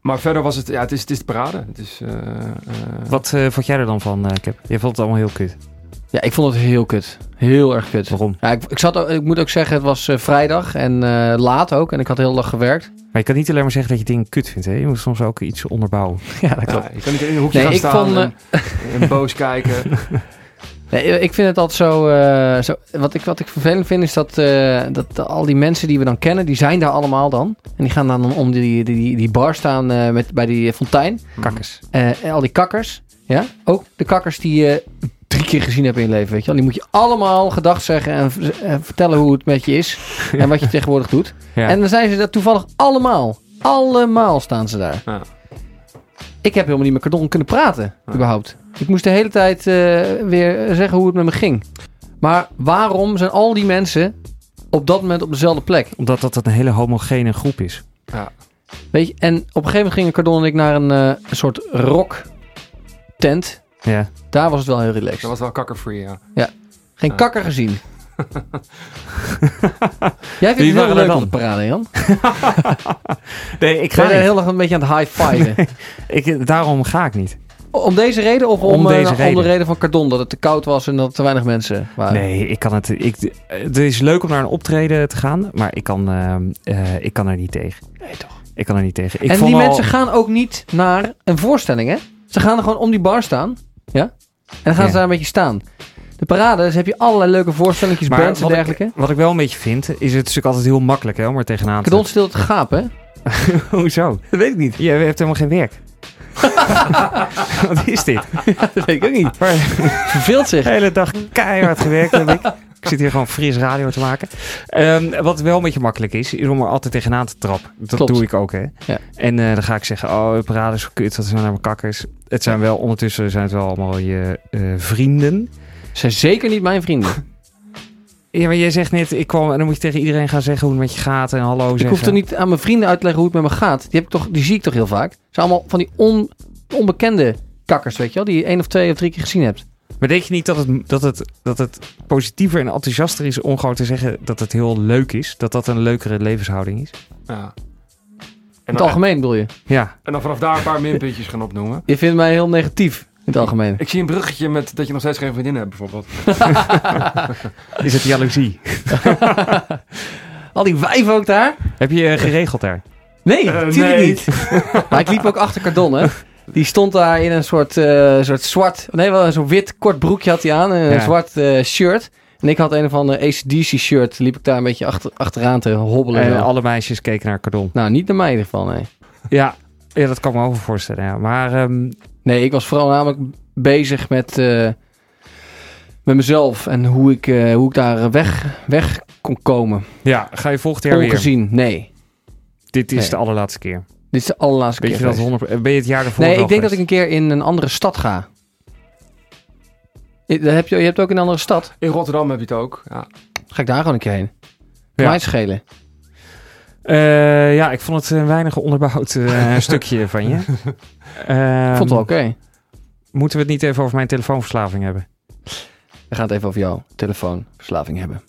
S6: maar verder was het, ja, het is, het is de parade. Het is, eh, eh,
S3: Wat eh, vond jij er dan van, eh Cap? Je vond het allemaal heel kut.
S4: Ja, ik vond het heel kut. Heel erg kut.
S3: Waarom?
S4: Ja, ik, ik, zat, ook- ik moet ook zeggen, het was eh, vrijdag en eh, laat ook. En ik had heel dag gewerkt.
S3: Maar je kan niet alleen maar zeggen dat je dingen kut vindt, hè? Je moet soms ook iets onderbouwen. Ja, dat
S6: ja, je kan niet in een hoekje
S4: Nee,
S6: gaan
S4: ik
S6: staan
S4: vond,
S6: en, en boos kijken.
S4: Nee, ik vind het altijd zo... eh, zo wat, ik, wat ik vervelend vind is dat, eh, dat al die mensen die we dan kennen, die zijn daar allemaal dan. En die gaan dan om die, die, die, die bar staan eh, met, bij die fontein.
S3: kakkers.
S4: Eh, en al die kakkers. Ja? Ook de kakkers die je drie keer gezien hebt in je leven. Weet je wel? Die moet je allemaal gedag zeggen en, v- en vertellen hoe het met je is. En wat je tegenwoordig doet.
S3: Ja.
S4: En dan zijn ze daar toevallig allemaal. Allemaal staan ze daar.
S6: Ja.
S4: Ik heb helemaal niet met Cardon kunnen praten. Überhaupt. Ik moest de hele tijd eh, weer zeggen hoe het met me ging. Maar waarom zijn al die mensen op dat moment op dezelfde plek?
S3: Omdat dat een hele homogene groep is.
S4: Weet je, en op een gegeven moment gingen Cardon en ik naar een eh, soort rock tent.
S3: Ja.
S4: Daar was het wel heel
S6: Dat
S4: relaxed.
S6: was wel kakkerfree, ja.
S4: Geen
S6: Ja.
S4: kakker gezien.
S3: Wie
S4: Jij
S3: waren
S4: vindt het heel
S3: er
S4: leuk
S3: dan?
S4: op de parade, Jan.
S3: Nee, ik
S4: Ik
S3: ga
S4: ga je daar
S3: niet.
S4: heel erg een beetje aan het high-fiven.
S3: Ik, daarom ga ik niet.
S4: Om deze reden of om,
S3: Om
S4: eh,
S3: deze
S4: om
S3: reden.
S4: de reden van Cardon? Dat het te koud was en dat er te weinig mensen waren.
S3: Nee, ik kan het. Ik, het is leuk om naar een optreden te gaan, maar ik kan, eh, eh, ik kan er niet tegen.
S4: Nee, toch.
S3: Ik kan er niet tegen. Ik
S4: en
S3: vond
S4: die
S3: al-
S4: mensen gaan ook niet naar een voorstelling, hè? Ze gaan er gewoon om die bar staan. Ja? En dan gaan
S3: Ja.
S4: ze daar een beetje staan. De parades heb je allerlei leuke voorstellingjes,
S3: Maar
S4: bands en
S3: wat ik-
S4: dergelijke.
S3: Wat ik wel een beetje vind, is het is natuurlijk altijd heel makkelijk hè, om er tegenaan te
S4: Cardon stilt te gapen, hè?
S3: Hoezo?
S4: Dat weet ik niet.
S3: Je hebt helemaal geen werk. Wat is dit?
S4: Dat weet ik ook niet.
S3: Waar-
S4: Verveelt zich.
S3: De hele dag keihard gewerkt heb ik. Ik zit hier gewoon fris radio te maken. Ehm, wat wel een beetje makkelijk is, is om er altijd tegenaan te trappen. Dat
S4: Klopt.
S3: doe ik ook, hè.
S4: Ja.
S3: En eh, dan ga ik zeggen, oh, de parade is zo kut, dat zijn allemaal kakkers. Het zijn wel, ondertussen zijn het wel allemaal je eh, vrienden.
S4: Ze zijn zeker niet mijn vrienden.
S3: Ja, maar jij zegt net, ik kwam en dan moet je tegen iedereen gaan zeggen hoe het met je gaat en hallo zeggen.
S4: Dus Ik hoef toch niet aan mijn vrienden uit te leggen hoe het met me gaat. Die, heb ik toch, die zie ik toch heel vaak. Het zijn allemaal van die on, onbekende kakkers, weet je wel. Die je één of twee of drie keer gezien hebt.
S3: Maar denk je niet dat het, dat, het, dat het positiever en enthousiaster is om gewoon te zeggen dat het heel leuk is? Dat dat een leukere levenshouding is?
S6: ja.
S4: In
S6: En,
S4: het
S6: dan,
S4: algemeen bedoel je.
S3: Ja,
S6: en dan vanaf daar een paar minpuntjes gaan opnoemen.
S4: Je vindt mij heel negatief. In het algemeen.
S6: Ik zie een bruggetje met dat je nog steeds geen vriendin hebt, bijvoorbeeld.
S3: is het jaloezie?
S4: Al die wijven ook daar?
S3: Heb je eh, geregeld daar?
S4: Nee,
S6: Eh,
S4: natuurlijk
S6: nee.
S4: niet. maar ik liep ook achter Cardon, hè. Die stond daar in een soort, eh, soort zwart... Nee, wel zo'n wit kort broekje had hij aan. en Een
S3: Ja.
S4: zwart eh, shirt. En ik had een of andere ACDC-shirt. Liep ik daar een beetje achter, achteraan te hobbelen.
S3: En
S4: Zo.
S3: alle meisjes keken naar Cardon.
S4: Nou, niet naar mij in ieder geval, nee.
S3: Ja, ja dat kan me over voorstellen. Ja. Maar ehm,
S4: Nee, ik was vooral namelijk bezig met, eh, met mezelf en hoe ik, eh, hoe ik daar weg, weg kon komen.
S3: ja, ga je volgend jaar weer?
S4: Ongezien, nee.
S3: Dit is
S4: Nee.
S3: de allerlaatste keer.
S4: Dit is de allerlaatste
S3: Weet je
S4: keer.
S3: dat
S4: geweest.
S3: 100, ben je het jaar ervoor
S4: nee,
S3: wel
S4: ik denk dat ik
S3: geweest?
S4: een keer in een andere stad ga. Je, dat heb je, je hebt ook een andere stad.
S6: In Rotterdam heb je het ook. Ja.
S4: Ga ik daar gewoon een keer heen.
S3: Ja.
S4: Mij schelen.
S3: Eh, ja, ik vond het een weinig onderbouwd eh, stukje van je. Ehm,
S4: Ik vond het wel oké.
S3: Moeten we het niet even over mijn telefoonverslaving hebben?
S4: We gaan het even over jouw telefoonverslaving hebben.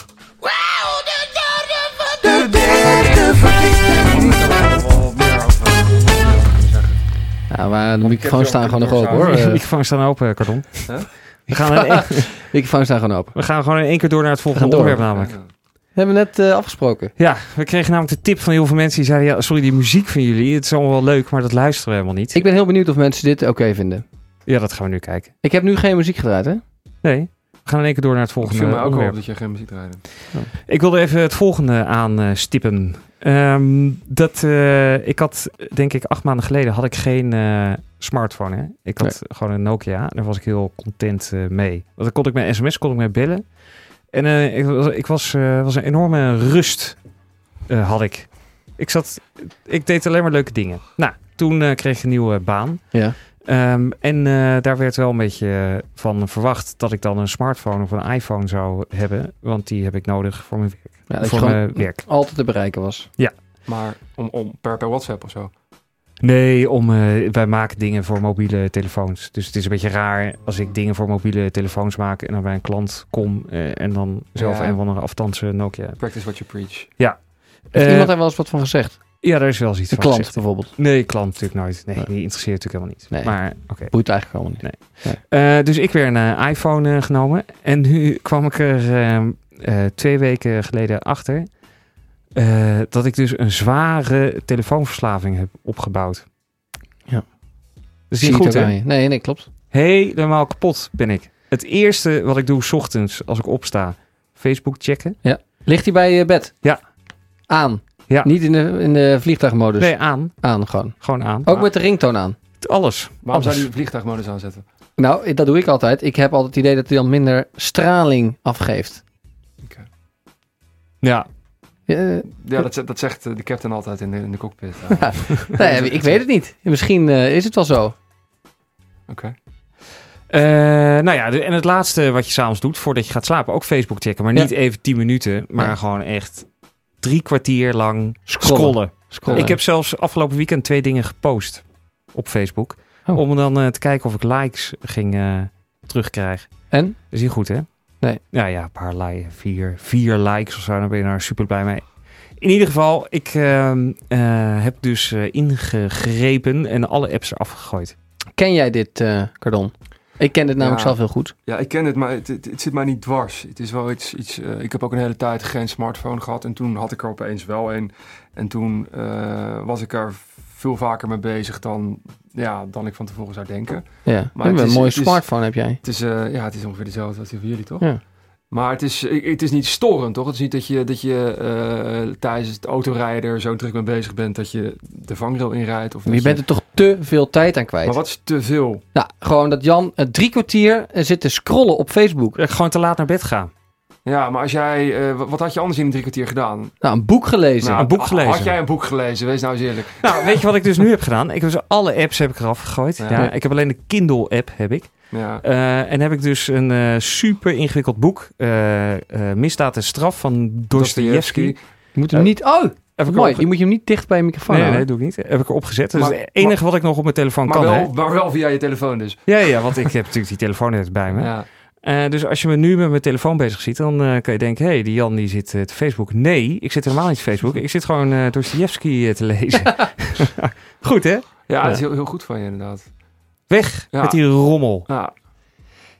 S4: Ja, Nou, maar de
S6: heb
S4: microfoons
S6: ze
S4: staan
S6: ook
S4: gewoon nog
S6: kunnen
S4: open hoor.
S3: Ik
S4: Eh,
S3: microfoons staan open, Cardon.
S6: Huh?
S3: We, gaan in één-
S4: Microfoons staan gewoon open.
S3: we gaan gewoon in één keer door naar het volgende
S4: We gaan door.
S3: onderwerp namelijk.
S4: We hebben net eh, afgesproken.
S3: Ja, we kregen namelijk de tip van heel veel mensen die zeiden... Ja, sorry, die muziek van jullie, het is allemaal wel leuk, maar dat luisteren we helemaal niet.
S4: Ik ben heel benieuwd of mensen dit oké vinden.
S3: Ja, dat gaan we nu kijken.
S4: Ik heb nu geen muziek gedraaid, hè?
S3: Nee, we gaan in één keer door naar het
S6: Het
S3: volgende
S6: viel mij ook al
S3: onderwerp.
S6: op dat je geen muziek draaide.
S3: Ik wilde even het volgende aanstippen. Ehm dat, eh, ik had, denk ik, acht maanden geleden had ik geen eh, smartphone. Hè? Ik had gewoon een Nokia. Daar was ik heel content eh, mee. Want dan kon ik mijn sms, kon ik mee bellen. En eh, ik, was, ik was, eh, was een enorme rust eh, had ik. Ik, zat, ik deed alleen maar leuke dingen. Nou, toen eh, kreeg ik een nieuwe baan.
S4: Ja.
S3: Ehm, en eh, daar werd wel een beetje eh, van verwacht dat ik dan een smartphone of een iPhone zou hebben. Want die heb ik nodig voor mijn werk.
S4: Ja, dat je
S3: voor
S4: gewoon
S3: mijn werk.
S4: altijd te bereiken was.
S6: Maar om, om, per, per WhatsApp of zo.
S3: Nee, om, eh, wij maken dingen voor mobiele telefoons. Dus het is een beetje raar als ik dingen voor mobiele telefoons maak en dan bij een klant kom eh, en dan zelf
S6: Ja.
S3: een of andere aftandse Nokia. heb.
S6: Practice what you preach.
S4: Heeft
S3: Eh,
S4: iemand daar wel eens wat van gezegd?
S3: ja, daar is wel eens iets
S4: De
S3: van
S4: klant
S3: gezegd.
S4: bijvoorbeeld.
S3: Nee, klant natuurlijk nooit. Nee,
S4: Nee.
S3: die interesseert natuurlijk helemaal niet.
S4: Nee.
S3: Maar oké.
S4: Boeit eigenlijk allemaal niet.
S3: Eh, dus ik weer een eh, iPhone eh, genomen. En nu kwam ik er ehm, eh, twee weken geleden achter eh, dat ik dus een zware telefoonverslaving heb opgebouwd.
S4: Ja.
S3: Dat is niet
S4: Zie je het
S3: goed,
S4: ook
S3: hè?
S4: aan je. Nee, nee, klopt.
S3: Helemaal kapot ben ik. Het eerste wat ik doe 's ochtends als ik opsta, Facebook checken.
S4: Ligt hij bij je bed?
S3: Ja.
S4: Aan?
S3: Ja.
S4: Niet in de, in de vliegtuigmodus?
S3: Nee, aan.
S4: Aan gewoon.
S3: Gewoon aan.
S4: Ook met de ringtoon aan?
S3: Alles.
S6: Waarom zou
S3: Alles.
S6: je die vliegtuigmodus aanzetten?
S4: Nou, i- dat doe ik altijd. Ik heb altijd het idee dat hij dan minder straling afgeeft.
S3: Ja.
S4: Eh,
S6: Ja, dat, zegt- dat zegt eh, de captain altijd in de, in de cockpit. Ah, Oké.
S4: nee, ik weet het niet. Misschien eh, is het wel zo.
S3: Eh, nou ja, de- en het laatste wat je s'avonds doet voordat je gaat slapen, ook Facebook checken. Maar
S4: Ja.
S3: niet even 10 minuten, maar
S4: Nee.
S3: gewoon echt drie kwartier lang
S4: Scrollen.
S3: scrollen.
S4: Scrollen.
S3: Ik heb zelfs afgelopen weekend twee dingen gepost op Facebook.
S4: Oh.
S3: Om dan eh, te kijken of ik likes ging eh, terugkrijgen.
S4: En?
S3: Dat is niet goed, hè?
S4: Nee.
S3: Nou ja, een paar li- vier, vier likes of zo. Dan ben je daar super blij mee. In ieder geval, ik ehm, eh, heb dus eh, ingegrepen en alle apps eraf gegooid.
S4: Ken jij dit, eh Cardon? Ik ken dit namelijk
S6: Ja.
S4: zelf heel goed.
S6: Ja, ik ken het, maar het, het, het zit mij niet dwars. Het is wel iets. iets eh, ik heb ook een hele tijd geen smartphone gehad. En toen had ik er opeens wel een. En toen eh, was ik er veel vaker mee bezig dan, ja, dan ik van tevoren zou denken.
S4: Ja.
S6: Maar
S4: Een
S6: het is-
S4: mooie
S6: het is-
S4: smartphone heb jij.
S6: Het is, eh, ja, het is ongeveer dezelfde als die van jullie, toch?
S4: Ja.
S6: Maar het is, ik- het is niet storend, toch? Het is niet dat je, dat je eh, tijdens het autorijden er zo druk mee bezig bent dat je de vangrail inrijdt. Of
S4: Maar
S6: dat
S4: je bent er toch te veel tijd aan kwijt.
S6: Maar wat is te veel?
S4: Nou, gewoon dat Jan eh, drie kwartier eh, zit te scrollen op Facebook.
S3: Dat ik gewoon te laat naar bed ga.
S6: Ja, maar als jij, eh, wat had je anders in een drie kwartier gedaan?
S4: Nou, een boek gelezen.
S6: Nou,
S3: een boek gelezen.
S6: Had jij een boek gelezen? Wees nou eens eerlijk.
S3: Nou, weet je wat ik dus nu heb gedaan? Ik heb dus alle apps heb ik eraf gegooid. Ja.
S6: Ja.
S3: ik heb alleen de Kindle-app, heb ik.
S6: Ja.
S3: Eh, en heb ik dus een eh, super ingewikkeld boek, eh, eh, Misdaad en Straf van Dostoevsky.
S4: Je moet hem niet... Oh,
S3: Heb eh, ik
S4: mooi.
S3: erop
S4: Je moet je hem niet dicht bij je microfoon
S3: Nee,
S4: houden.
S3: nee, doe ik niet. Heb ik erop gezet. Dat
S6: Maar-
S3: is het enige wat ik nog op mijn telefoon
S6: Maar
S3: kan. hè?
S6: wel, maar wel via je telefoon dus.
S3: Ja, ja, want ik heb natuurlijk die telefoon net bij me.
S6: Ja.
S3: Eh, dus als je me nu met mijn telefoon bezig ziet, dan eh, kan je denken... hé, hey, die Jan die zit eh, te Facebook. Nee, ik zit helemaal niet te Facebook. Ik zit gewoon eh Dostoevsky eh, te lezen. Goed, hè?
S6: ja,
S3: Ja.
S6: het is heel, heel goed van je inderdaad. Nou,
S3: Weg
S6: Ja.
S3: met die rommel.
S6: Ja.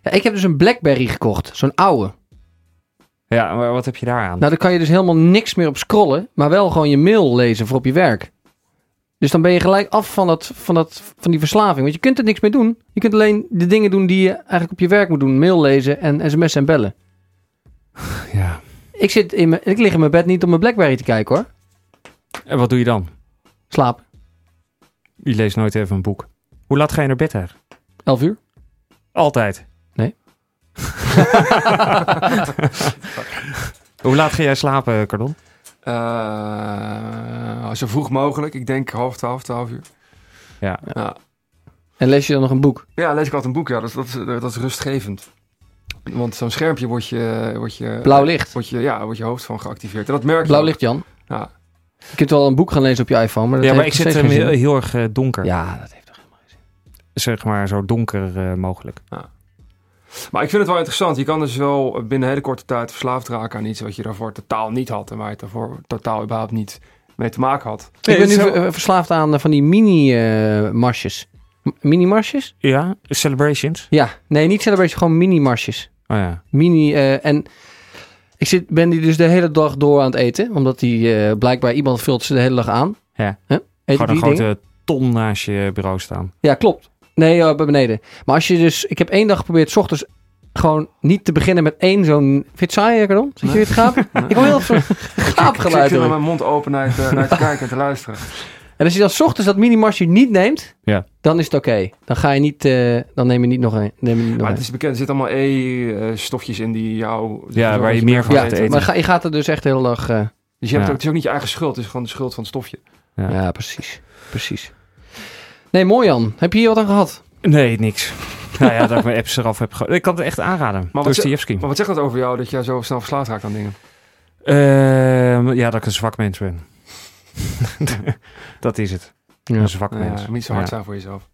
S4: Ja, ik heb dus een Blackberry gekocht. Zo'n oude.
S3: Ja, maar wat heb je daar aan?
S4: Nou, dan kan je dus helemaal niks meer op scrollen, maar wel gewoon je mail lezen voor op je werk. Dus dan ben je gelijk af van, dat, van, dat, van die verslaving. Want je kunt er niks mee doen. Je kunt alleen de dingen doen die je eigenlijk op je werk moet doen. Mail lezen en sms en bellen.
S3: Ja.
S4: Ik, zit in mijn, ik lig in mijn bed niet om mijn Blackberry te kijken hoor.
S3: En wat doe je dan?
S4: Slaap.
S3: Je leest nooit even een boek. Hoe laat ga je naar bed eigenlijk?
S4: Elf uur.
S3: Altijd.
S4: Nee.
S3: Hoe laat ga jij slapen, Cardon?
S6: Eh, zo vroeg mogelijk. Ik denk half twaalf, twaalf uur.
S3: Ja.
S6: Ja,
S4: En lees je dan nog een boek.
S6: Ja, lees ik altijd een boek. Ja, dat, dat, dat is rustgevend. Want zo'n schermpje wordt je, wordt je...
S4: Blauw licht.
S6: Wordt je, ja, wordt je hoofd van geactiveerd. En dat merk je
S4: Blauw
S6: ook.
S4: licht, Jan.
S6: Ja.
S4: Je kunt wel een boek gaan lezen op je iPhone, maar dat
S3: ja, maar ik
S4: heeft
S3: zit
S4: nog
S3: hem
S4: steeds
S3: heel,
S4: geen
S3: heel erg eh, donker.
S4: zin. Ja, dat heeft toch.
S3: Zeg maar zo donker eh, mogelijk.
S6: Maar ik vind het wel interessant. Je kan dus wel binnen hele korte tijd verslaafd raken aan iets wat je daarvoor totaal niet had. En waar je daarvoor totaal überhaupt niet mee te maken had.
S4: ik ben nu
S3: het is
S4: ver- eh, verslaafd aan eh, van die mini-marsjes. M- Mini-marsjes?
S3: Ja, Celebrations.
S4: Ja, nee, niet celebration, gewoon mini-marsjes.
S3: Oh ja.
S4: Mini, eh, en ik zit, ben die dus de hele dag door aan het eten. Omdat die eh, blijkbaar iemand vult ze de hele dag aan.
S3: Ja.
S4: Huh? Eet
S3: Gewoon
S4: die
S3: een
S4: dingen?
S3: grote ton naast je bureau staan.
S4: Ja, klopt. Nee, eh, bij beneden. Maar als je dus... Ik heb één dag geprobeerd, s ochtends gewoon niet te beginnen met één zo'n... Vind je het saai, eh, Cardon? Zit je weer te gapen? Ik hoor heel veel
S6: Ik zit
S4: gaapgeluid.
S6: hier met
S4: hoor.
S6: mijn mond open naar het, eh, naar het kijken en te luisteren.
S4: En als je dan s ochtends dat mini-marsje niet neemt,
S3: Ja.
S4: dan is het oké. Dan ga je niet... eh, dan neem je niet nog een. Neem je niet nog
S6: Maar
S4: een.
S6: het is bekend, er zitten allemaal E-stofjes in die jou...
S3: Ja, waar je meer van
S4: Ja,
S3: gaat eten.
S4: maar ga, je gaat er dus echt heel dag... eh,
S6: Dus je hebt
S3: Ja.
S6: ook, het is ook niet je eigen schuld, het is gewoon de schuld van het stofje.
S3: Ja.
S4: ja, precies. Precies. Nee, mooi Jan. Heb je hier wat aan gehad?
S3: Nee, niks. nou ja, dat ik mijn apps eraf heb ge... Ik kan het echt aanraden.
S6: wat ze-
S3: Dostoevsky.
S6: Maar wat zegt dat over jou, dat jij zo snel verslaafd raakt aan dingen?
S3: Ehm, ja, dat ik een zwak mens ben. dat is het.
S4: Ja.
S3: Een zwak
S6: Ja,
S3: mens.
S6: Eh, moet niet zo hard
S3: Ja.
S6: zijn voor jezelf.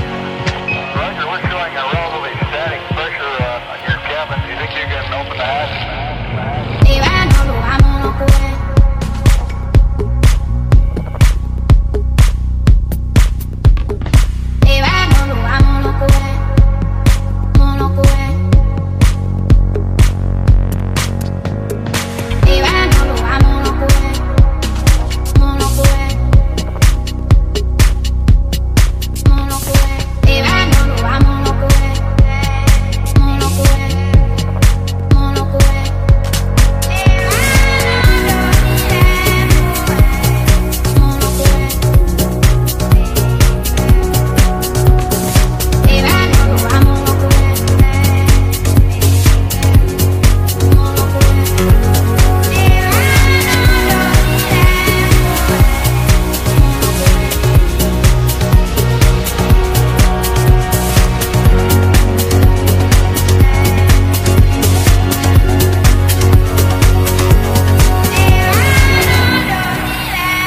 S8: Roger, we're showing a relatively static pressure uh, on your cabin. Do you think you can open the hatch?
S9: They ran all around on our boy. They ran all around on our boy. On our boy. They ran all around on our boy. On our boy. On our boy. They ran all around on our boy. On our boy. On our boy.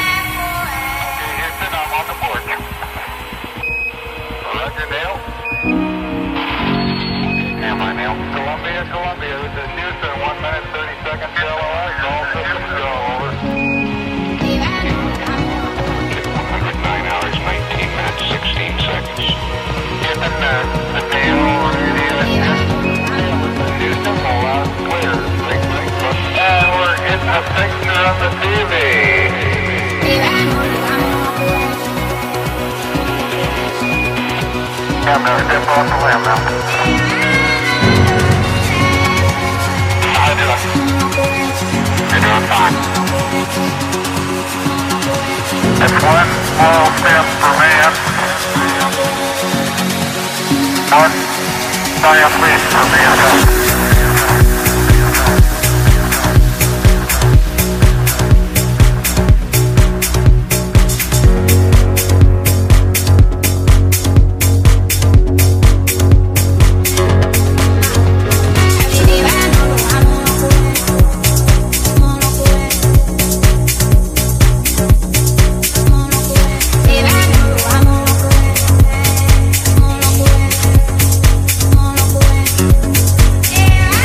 S8: Okay, Houston, I'm on the port. Roger, Neil. Stand by, Neil. Columbia, Columbia, this is Houston, 1 minute 30 seconds, LOS, all systems go, over. Nine hours, 19 minutes, 16 seconds. Houston, uh, Neil, radio, Houston, all out clear. Blink, blink, blink. And we're getting a picture on the TV. I'm gonna step off the limb now. How you doing? You're doing fine. That's one small step for man. One giant leap for mankind.
S9: Yeah.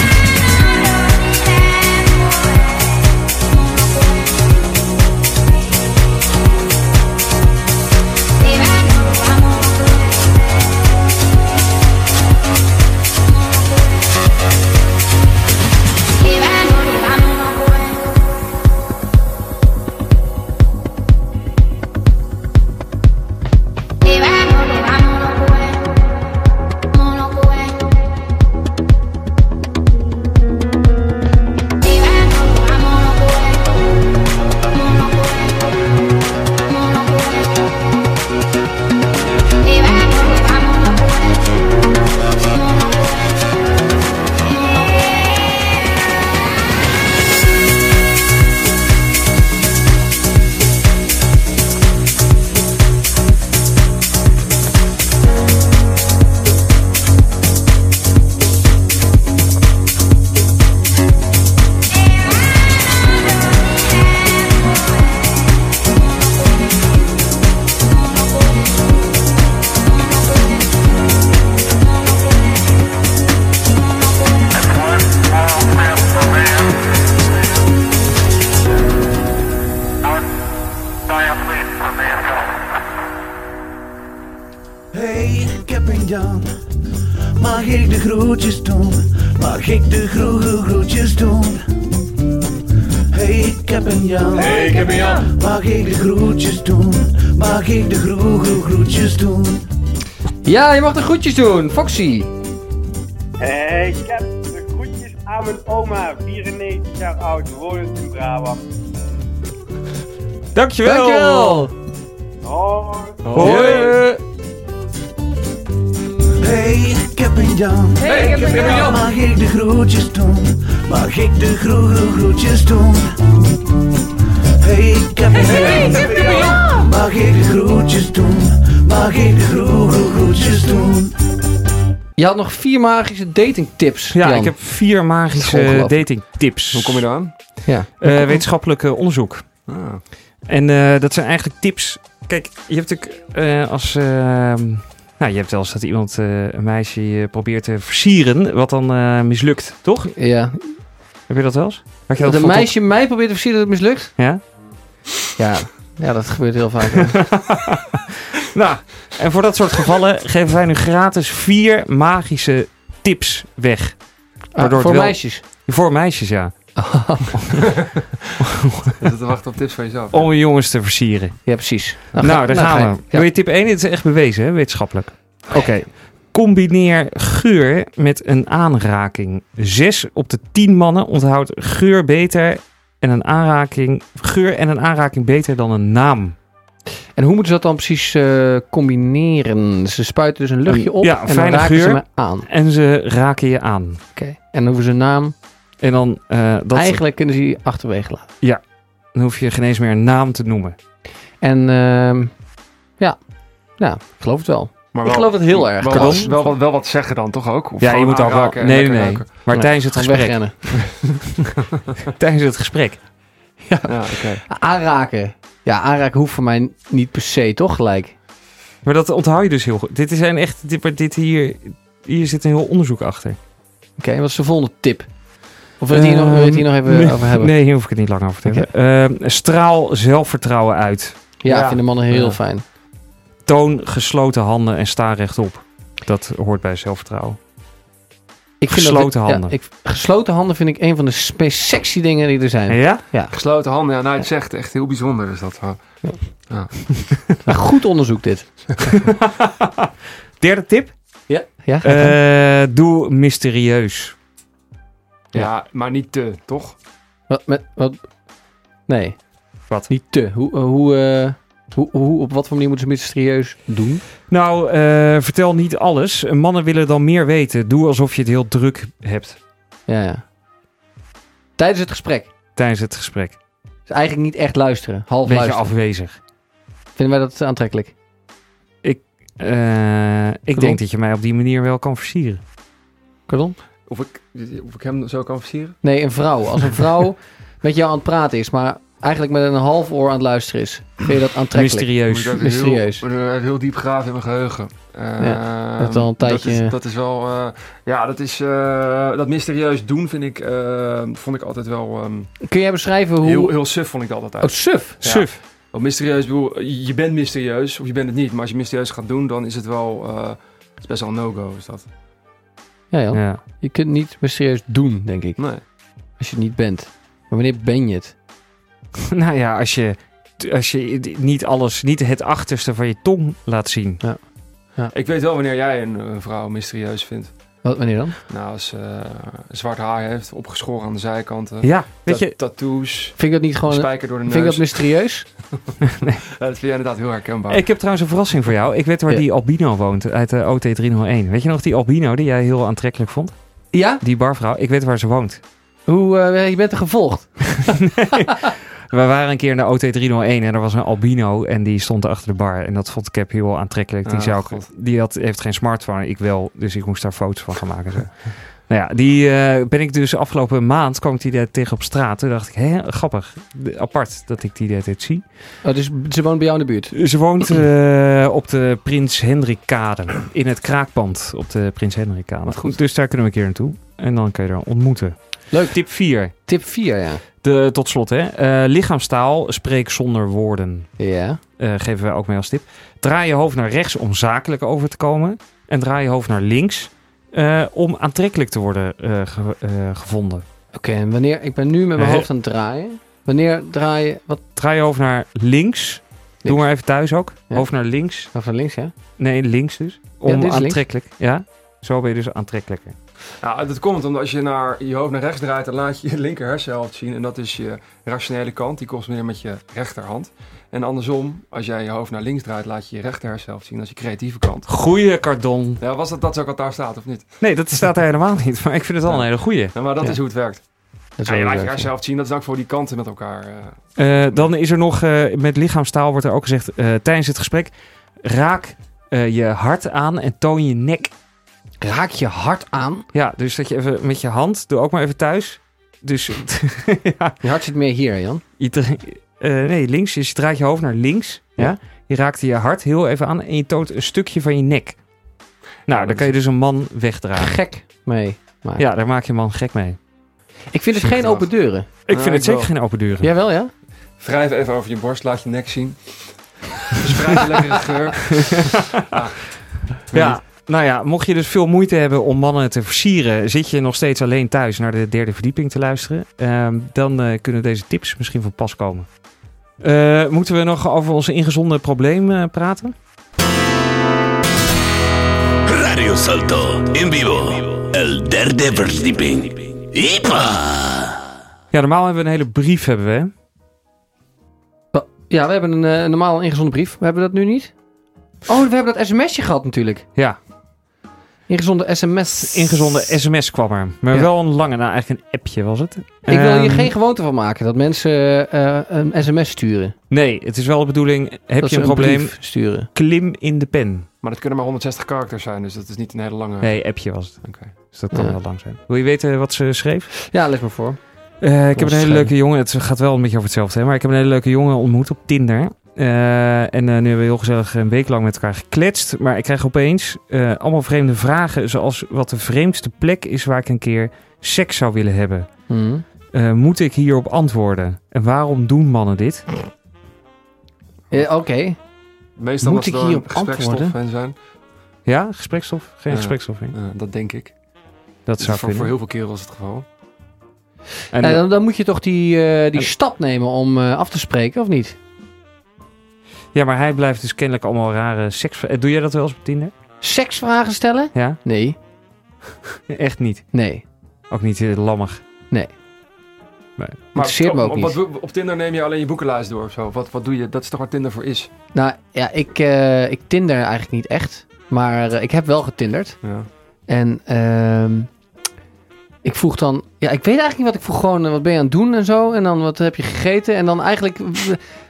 S1: ik de groetjes doen? Mag ik de groege groetjes doen? Hey, ik heb een Jan.
S8: Hey, ik heb een Jan.
S1: Mag ik de groetjes doen? Mag ik de groege groetjes doen?
S4: Ja, je mag de groetjes doen, Foxy.
S10: Hey, ik heb de groetjes aan mijn oma, 94 jaar oud, wonend in Brabant.
S3: Dankjewel.
S4: Dankjewel.
S10: Hoi.
S3: Hoi.
S1: Hey, ik heb een Jan.
S4: Hey, ik heb een Jan.
S1: Mag ik de groetjes doen? Mag ik de groege groetjes doen? Hey, ik heb een Jan. Mag ik de groetjes doen? Mag ik de groege groetjes doen?
S4: Je had nog vier magische datingtips.
S3: Ja,
S4: Jan.
S3: ik heb vier magische
S4: Ongelooflijk.
S3: datingtips.
S6: Hoe kom je eraan?
S4: Ja.
S3: Eh, wetenschappelijk eh, onderzoek.
S6: Ah,
S3: En eh, dat zijn eigenlijk tips. Kijk, je hebt natuurlijk eh, als. ehm, nou, je hebt wel eens dat iemand eh, een meisje eh, probeert te versieren, wat dan eh, mislukt, toch?
S4: ja.
S3: Heb je dat wel eens? Had je
S4: Dat een
S3: van tot-
S4: meisje mij probeert te versieren dat het mislukt?
S3: Ja.
S4: Ja. Ja, dat gebeurt heel vaak. Ah, hè.
S3: Nou, en voor dat soort gevallen geven wij nu gratis vier magische tips weg.
S4: Ah,
S3: Waardoor het
S4: voor
S3: wel-
S4: meisjes.
S3: Voor meisjes, ja.
S6: dat te wachten op tips van jezelf.
S3: Om jongens te versieren.
S4: Ja, precies.
S3: nou, daar gaan we. Wil
S4: Ja.
S3: je tip 1? Dit is echt bewezen, hè, wetenschappelijk.
S4: Oké.
S3: Combineer geur met een aanraking. 6 op de 10 mannen onthoudt geur beter en een aanraking, geur en een aanraking beter dan een naam.
S4: En hoe moeten ze dat dan precies eh, combineren? Ze spuiten dus een luchtje op
S3: Ja,
S4: en dan
S3: fijne
S4: raken ze
S3: geur.
S4: me aan. Oké.
S3: En ze raken je aan.
S4: En dan hoeven ze een naam...
S3: En dan, eh, dat,
S4: Eigenlijk kunnen ze die achterwege laten.
S3: dan hoef je geen eens meer een naam te noemen.
S4: En ehm, ja. ja, ik geloof het wel.
S6: Maar
S4: ik geloof het heel erg.
S6: Wel,
S4: Kan
S6: wel, wel, wat- wel wat zeggen dan toch ook? Of
S3: ja, je
S6: gewoon
S3: moet ook wel.
S6: aanraken en
S3: Nee, nee,
S6: lekker
S3: nee.
S6: ruiken.
S3: Maar
S4: Nee,
S3: tijdens het
S4: Gewoon
S3: gesprek.
S4: wegrennen.
S3: Tijdens het gesprek.
S6: Ja, oké.
S4: Aanraken. Ja, aanraken hoeft voor mij niet per se, toch gelijk?
S3: Maar dat onthoud je dus heel goed. Dit is een echt. Dit, maar dit hier. Hier zit een heel onderzoek achter.
S4: Oké, wat is de volgende tip? Of wil je het hier, nog- wil je het hier nog even
S3: Ehm, nee,
S4: over hebben?
S3: Nee, hier hoef ik het niet lang over te hebben. Ehm, straal zelfvertrouwen uit.
S4: Ja,
S6: Ja.
S4: vinden mannen heel
S6: Ja.
S4: fijn.
S3: Toon gesloten handen en sta rechtop. Dat hoort bij zelfvertrouwen.
S4: Ik vind
S3: Gesloten
S4: dat, ik-
S3: handen.
S4: Ja, ik, gesloten handen vind ik een van de meest sexy dingen die er zijn.
S3: Ja?
S6: Gesloten handen, ja, nou, het zegt echt heel bijzonder is dat wel.
S4: Maar goed onderzoek dit.
S3: Derde tip.
S4: Ja, ga je gang.
S3: Eh, doe mysterieus.
S6: Ja, maar niet te, toch?
S4: wat, met, wat? Nee,
S3: Wat?
S4: niet te. Hoe, hoe, eh, hoe, hoe, op wat voor manier moeten ze mysterieus doen?
S3: Nou, eh, vertel niet alles. Mannen willen dan meer weten. Doe alsof je het heel druk hebt
S4: Ja, ja. Tijdens het gesprek.
S3: tijdens het gesprek.
S4: Dus eigenlijk niet echt luisteren. Half
S3: Beetje
S4: luisteren.
S3: afwezig.
S4: Vinden wij dat aantrekkelijk?
S3: Eh, ik
S4: Klopt.
S3: denk dat je mij op die manier wel kan versieren.
S4: Pardon?
S6: Of ik, of ik hem zo kan versieren?
S4: Nee, een vrouw. Als een vrouw met jou aan het praten is, maar eigenlijk met een half oor aan het luisteren is. Vind je dat aantrekkelijk?
S6: Moet ik
S3: Mysterieus.
S6: even
S4: Mysterieus.
S6: Heel, moet ik even heel diep graven in mijn geheugen. Eh,
S4: dat is al een tijdje-
S6: Dat is, dat is wel... eh, ja, dat is... eh, dat mysterieus doen vind ik... eh, vond ik altijd wel... ehm,
S4: Kun jij beschrijven hoe...
S6: heel, heel suf vond ik dat altijd.
S4: Oh, suf.
S6: Ja.
S3: Suf.
S6: Want mysterieus, ik bedoel, je bent mysterieus of je bent het niet. Maar als je mysterieus gaat doen, dan is het wel... eh, het is best wel een no-go, is dat.
S4: Ja, Jan.
S3: Ja.
S4: Je kunt niet mysterieus doen, denk ik.
S6: Nee.
S4: Als je het niet bent. Maar wanneer ben je het?
S3: Nou ja, als je, als je niet alles, niet het achterste van je tong laat zien.
S6: Ik weet wel wanneer jij een, een vrouw mysterieus vindt.
S4: Wat, wanneer dan?
S6: Nou, als ze eh, zwart haar heeft, opgeschoren aan de zijkanten.
S3: Ja, weet
S6: Weet
S3: je,
S6: Tattoos,
S4: Vind ik Oh, dat niet gewoon...
S6: spijker door de neus.
S4: Vind ik dat mysterieus?
S6: Ja, dat vind jij inderdaad heel herkenbaar.
S3: ik heb trouwens een verrassing voor jou. Ik weet waar
S4: Ja.
S3: die albino woont uit eh, de OT301. Weet je nog die albino die jij heel aantrekkelijk vond?
S4: Ja?
S3: Die barvrouw. Ik weet waar ze woont.
S4: Hoe, eh, je bent er gevolgd.
S3: We waren een keer in de OT301 en er was een albino en die stond achter de bar. En dat vond Cap heel aantrekkelijk. Die,
S6: Ah,
S3: zou,
S6: God.
S3: die had, heeft geen smartphone, ik wel. Dus ik moest daar foto's van gaan maken. en Zo. nou ja, die eh, ben ik dus afgelopen maand, kwam ik die daar tegen op straat. Toen dacht ik, hè, grappig. De- apart dat ik die de hele tijd zie.
S4: Oh, dus ze woont bij jou in de buurt.
S3: Ze woont eh, op de Prins Hendrikkade. In het kraakpand op de Prins Hendrikkade. Goed. Dus daar kunnen we een keer naartoe. En dan kun je haar ontmoeten.
S4: Leuk.
S3: Tip 4.
S4: Tip 4, ja.
S3: De, tot slot, hè. Eh, lichaamstaal, spreek zonder woorden.
S4: Ja.
S3: Eh, geven wij ook mee als tip. Draai je hoofd naar rechts om zakelijk over te komen. En draai je hoofd naar links eh, om aantrekkelijk te worden eh, ge- eh, gevonden.
S4: Oké, en wanneer... Ik ben nu met mijn
S3: Nee.
S4: hoofd aan het draaien. Wanneer draai je... Wat?
S3: Draai je hoofd naar links. Doe maar even thuis ook.
S4: Ja.
S3: Hoofd naar links.
S4: Nou, van links, ja?
S3: Nee, links dus.
S4: dit is
S3: Om
S4: links.
S3: aantrekkelijk. Ja, zo ben je dus aantrekkelijker.
S6: Nou, dat komt omdat als je naar, je hoofd naar rechts draait, dan laat je je linker hersenhelft zien. En dat is je rationele kant, die komt meer met je rechterhand. En andersom, als jij je hoofd naar links draait, laat je je rechter hersenhelft zien als je creatieve kant.
S3: Goeie cardon.
S6: Ja, was dat dat ook wat daar staat of niet?
S3: Nee, dat staat er helemaal niet. Maar ik vind het wel een hele goeie.
S6: Ja, maar dat
S4: Ja.
S6: is hoe het werkt.
S4: Dat is
S6: Ja,
S4: wel
S6: je laat je
S4: leuk, ja.
S6: hersenhelft zien, dat is ook voor die kanten met elkaar. eh.
S3: Eh, dan is er nog, eh, met lichaamstaal wordt er ook gezegd, eh, tijdens het gesprek, raak eh, je hart aan en toon je nek.
S4: Raak je hart aan.
S3: Ja, dus dat je even met je hand, doe ook maar even thuis. Dus ja,
S4: Je hart zit meer hier, Jan.
S3: je dra- eh, nee, links, dus je draait je hoofd naar links. Ja.
S4: Ja.
S3: Je raakt je hart heel even aan en je toont een stukje van je nek. Nou,
S6: dat
S3: dan kan
S6: is-
S3: je dus een man wegdragen.
S4: Gek mee.
S3: Ja, daar maak je een man gek mee.
S4: Ik vind het
S6: Ziek
S4: geen
S6: wel.
S4: open deuren.
S3: Ik
S6: Ja,
S3: vind
S6: ik
S3: het zeker
S6: wel.
S3: geen open deuren.
S4: Jawel, ja?
S6: Wrijf even over je borst, laat je nek zien. Verspreid een lekkere geur.
S3: Ja, nou ja, mocht je dus veel moeite hebben om mannen te versieren, zit je nog steeds alleen thuis naar de derde verdieping te luisteren, ehm, dan eh, kunnen deze tips misschien van pas komen. Eh, moeten we nog over onze ingezonde probleem eh, praten?
S1: Radio Salto in vivo. El derde verdieping. Ipa!
S3: Ja, normaal hebben we een hele brief, hebben we. hè?
S4: Wa- Ja, we hebben een eh, normaal ingezonden brief. We hebben dat nu niet. Oh, we hebben dat sms'je gehad natuurlijk.
S3: Ja,
S4: Ingezonde sms.
S3: ingezonde sms kwam er. Maar
S4: Ja.
S3: wel een lange, nou eigenlijk een appje was het.
S4: Ik wil hier
S3: Ehm,
S4: geen gewoonte van maken dat mensen eh, eh, een sms sturen.
S3: Nee, het is wel de bedoeling, heb
S4: dat
S3: je
S4: ze
S3: een probleem,
S4: brief sturen.
S3: klim in de pen.
S6: Maar dat kunnen maar 160 karakters zijn, dus dat is niet een hele lange...
S3: Nee, appje was het.
S6: Oké.
S3: Dus dat kan
S4: Ja.
S3: wel lang zijn. Wil je weten wat ze schreef?
S4: Ja, leg maar voor.
S3: Eh, ik heb een hele
S4: Onderscheiden.
S3: leuke jongen. Het gaat wel een beetje over hetzelfde, hè, maar ik heb een hele leuke jongen ontmoet op Tinder. Eh, en eh, nu hebben we heel gezellig een week lang met elkaar gekletst. Maar ik krijg opeens eh, allemaal vreemde vragen. Zoals wat de vreemdste plek is waar ik een keer seks zou willen hebben.
S4: Hmm.
S3: Eh, moet ik hierop antwoorden? En waarom doen mannen dit?
S4: Ja, Oké.
S6: Meestal
S4: Moet
S6: als
S4: ik
S6: er
S4: hierop
S6: een gesprekstof
S4: antwoorden?
S6: in zijn,
S3: Ja, gesprekstof? Geen
S6: Ja.
S3: gesprekstof meer.
S6: eh, dat denk ik.
S3: Dat
S6: voor,
S3: zou
S6: voor
S3: kunnen.
S6: heel veel kerels het geval.
S3: En,
S4: Eh, dan, dan moet je toch die, eh, die
S3: en-
S4: stap nemen om eh, af te spreken, of niet?
S3: ja, maar hij blijft dus kennelijk allemaal rare seks... Eh, Doe jij dat wel eens op Tinder?
S4: Seksvragen stellen?
S3: Ja?
S4: Nee.
S3: Echt niet.
S4: Nee.
S3: Ook niet eh, lammig.
S4: Interesseert me ook
S6: op,
S4: niet.
S6: Wat, op Tinder neem je alleen je boekenlijst door of zo. Wat, wat doe je? Dat is toch waar Tinder voor is?
S4: Nou ja, ik, eh, ik tinder eigenlijk niet echt. Maar eh, ik heb wel getinderd.
S6: Ja.
S4: En ehm, ik vroeg dan... Ja, ik weet eigenlijk niet wat ik vroeg. Gewoon, eh, wat ben je aan het doen en zo? En dan, wat heb je gegeten? En dan eigenlijk eh,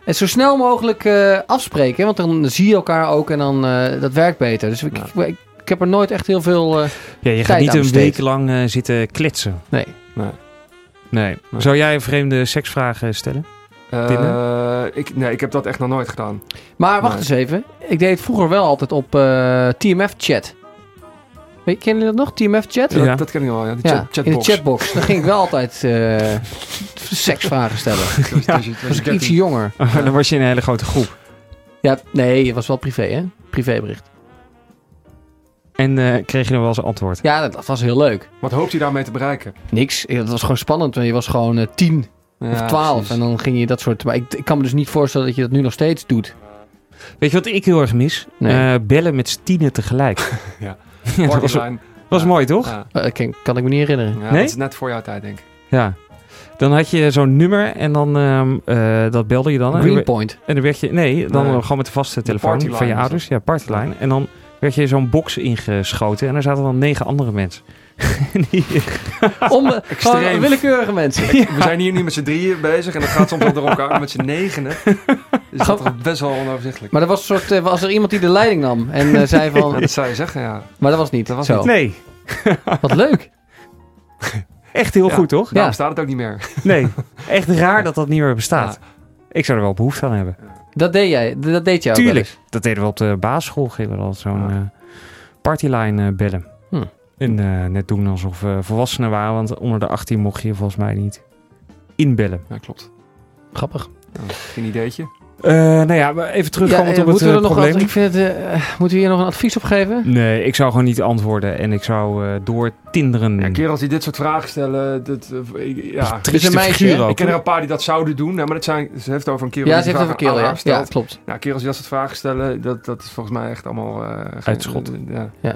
S4: het zo snel mogelijk eh, afspreken. Want dan zie je elkaar ook en dan, eh, dat werkt beter. Dus ik, ik, ik, ik heb er nooit echt heel veel... eh,
S3: Ja, je gaat
S4: Tijd
S3: niet
S4: aan
S3: een
S4: besteed.
S3: week lang eh, zitten kletsen.
S4: nee.
S3: Nee.
S6: Nee.
S3: Zou jij een vreemde seksvragen stellen?
S6: Eh, ik, nee, ik heb dat echt nog nooit gedaan.
S4: Maar wacht
S6: Nee.
S4: eens even. Ik deed het vroeger wel altijd op eh, TMF-chat. Weet Kennen jullie dat nog? TMF-chat?
S3: Ja.
S6: Dat, dat ken ik wel, ja. Die chat,
S4: in de
S6: chatbox.
S4: chatbox. Dan ging ik wel altijd eh, seksvragen stellen.
S6: Ik was- was- was-
S4: Was
S6: was
S4: ik iets
S6: 13.
S4: jonger.
S3: Dan was je in een hele grote groep.
S4: Ja, nee, het was wel privé, hè? Privébericht.
S3: En eh, kreeg je dan wel eens een antwoord?
S4: Ja, dat, dat was heel leuk.
S6: Wat hoopt hij daarmee te bereiken?
S4: Niks. Het was gewoon spannend. want Je was gewoon eh, tien of
S6: Ja,
S4: twaalf.
S6: precies.
S4: En dan ging je dat soort... Maar ik, ik kan me dus niet voorstellen dat je dat nu nog steeds doet.
S3: Weet je wat ik heel erg mis?
S4: Nee.
S3: Eh, bellen met z'n tienen tegelijk.
S6: Ja.
S3: dat was,
S6: Borderline.
S3: was
S6: Ja.
S3: mooi, toch? Ja.
S6: Ja.
S4: Eh, kan, kan ik me niet herinneren.
S6: Ja,
S3: Nee?
S6: Dat is net voor jouw tijd, denk ik.
S3: Dan had je zo'n nummer en dan ehm, eh, dat belde je dan. En dan,
S4: Greenpoint.
S3: en dan werd je... Nee, dan
S6: Nee.
S3: gewoon met de vaste telefoon
S6: partyline
S3: van je
S6: was
S3: ouders. Ja, partyline. En dan werd je zo'n box ingeschoten en daar zaten dan negen andere mensen. Die-
S4: Om, eh, gewoon
S6: Extreem.
S4: willekeurige mensen.
S6: We zijn hier nu met z'n drieën bezig en dat gaat soms wel door elkaar maar met z'n negenen. Is dat toch best wel onoverzichtelijk.
S4: Maar er was, een soort, eh, was er iemand die de leiding nam en eh, zei van...
S6: Ja, dat zou je zeggen, ja.
S4: Maar dat was niet.
S6: Dat was
S4: Zo.
S6: niet.
S3: nee,
S4: Wat leuk.
S3: echt heel
S6: Ja.
S3: goed, toch?
S6: Daarom
S4: Ja.
S6: staat het ook niet meer.
S3: Nee, echt raar dat dat niet meer bestaat. Ik zou er wel behoefte aan hebben.
S4: Dat deed jij. Dat deed jij ook wel
S3: Tuurlijk.
S4: eens.
S3: Dat deden we op de basisschool. Gingen we al zo'n
S6: Ja.
S3: eh, partyline eh, bellen.
S4: Hm.
S3: En eh, net doen alsof we volwassenen waren. Want onder de 18 mocht je volgens mij niet inbellen.
S6: Ja, klopt.
S4: Grappig.
S6: Nou, geen ideetje.
S3: Eh, nou ja, maar even terugkomend
S4: eh,
S3: op het
S4: moeten we
S3: eh,
S4: er nog
S3: probleem.
S4: ad- ik vind, het, eh, moeten we hier nog een advies op geven?
S3: Nee, ik zou gewoon niet antwoorden en ik zou eh door tinderen.
S6: Ja, kerels die dit soort vragen stellen, dat, eh, ik- ja.
S4: is een meisje,
S3: figuur
S4: hè?
S3: ook.
S6: Ik ken er een paar die dat zouden doen, nou, maar dat zijn, ze heeft over een kerel
S4: Ja,
S6: die
S4: ze
S6: die
S4: heeft
S6: vragen
S4: even killen.
S6: aan
S4: Ja.
S6: haar
S4: ja,
S6: stelt.
S4: klopt.
S6: Nou, kerels die dat soort vragen stellen, dat, dat is volgens mij echt allemaal... eh, geen-
S3: Uitschot.
S6: eh, ja.
S4: Ja.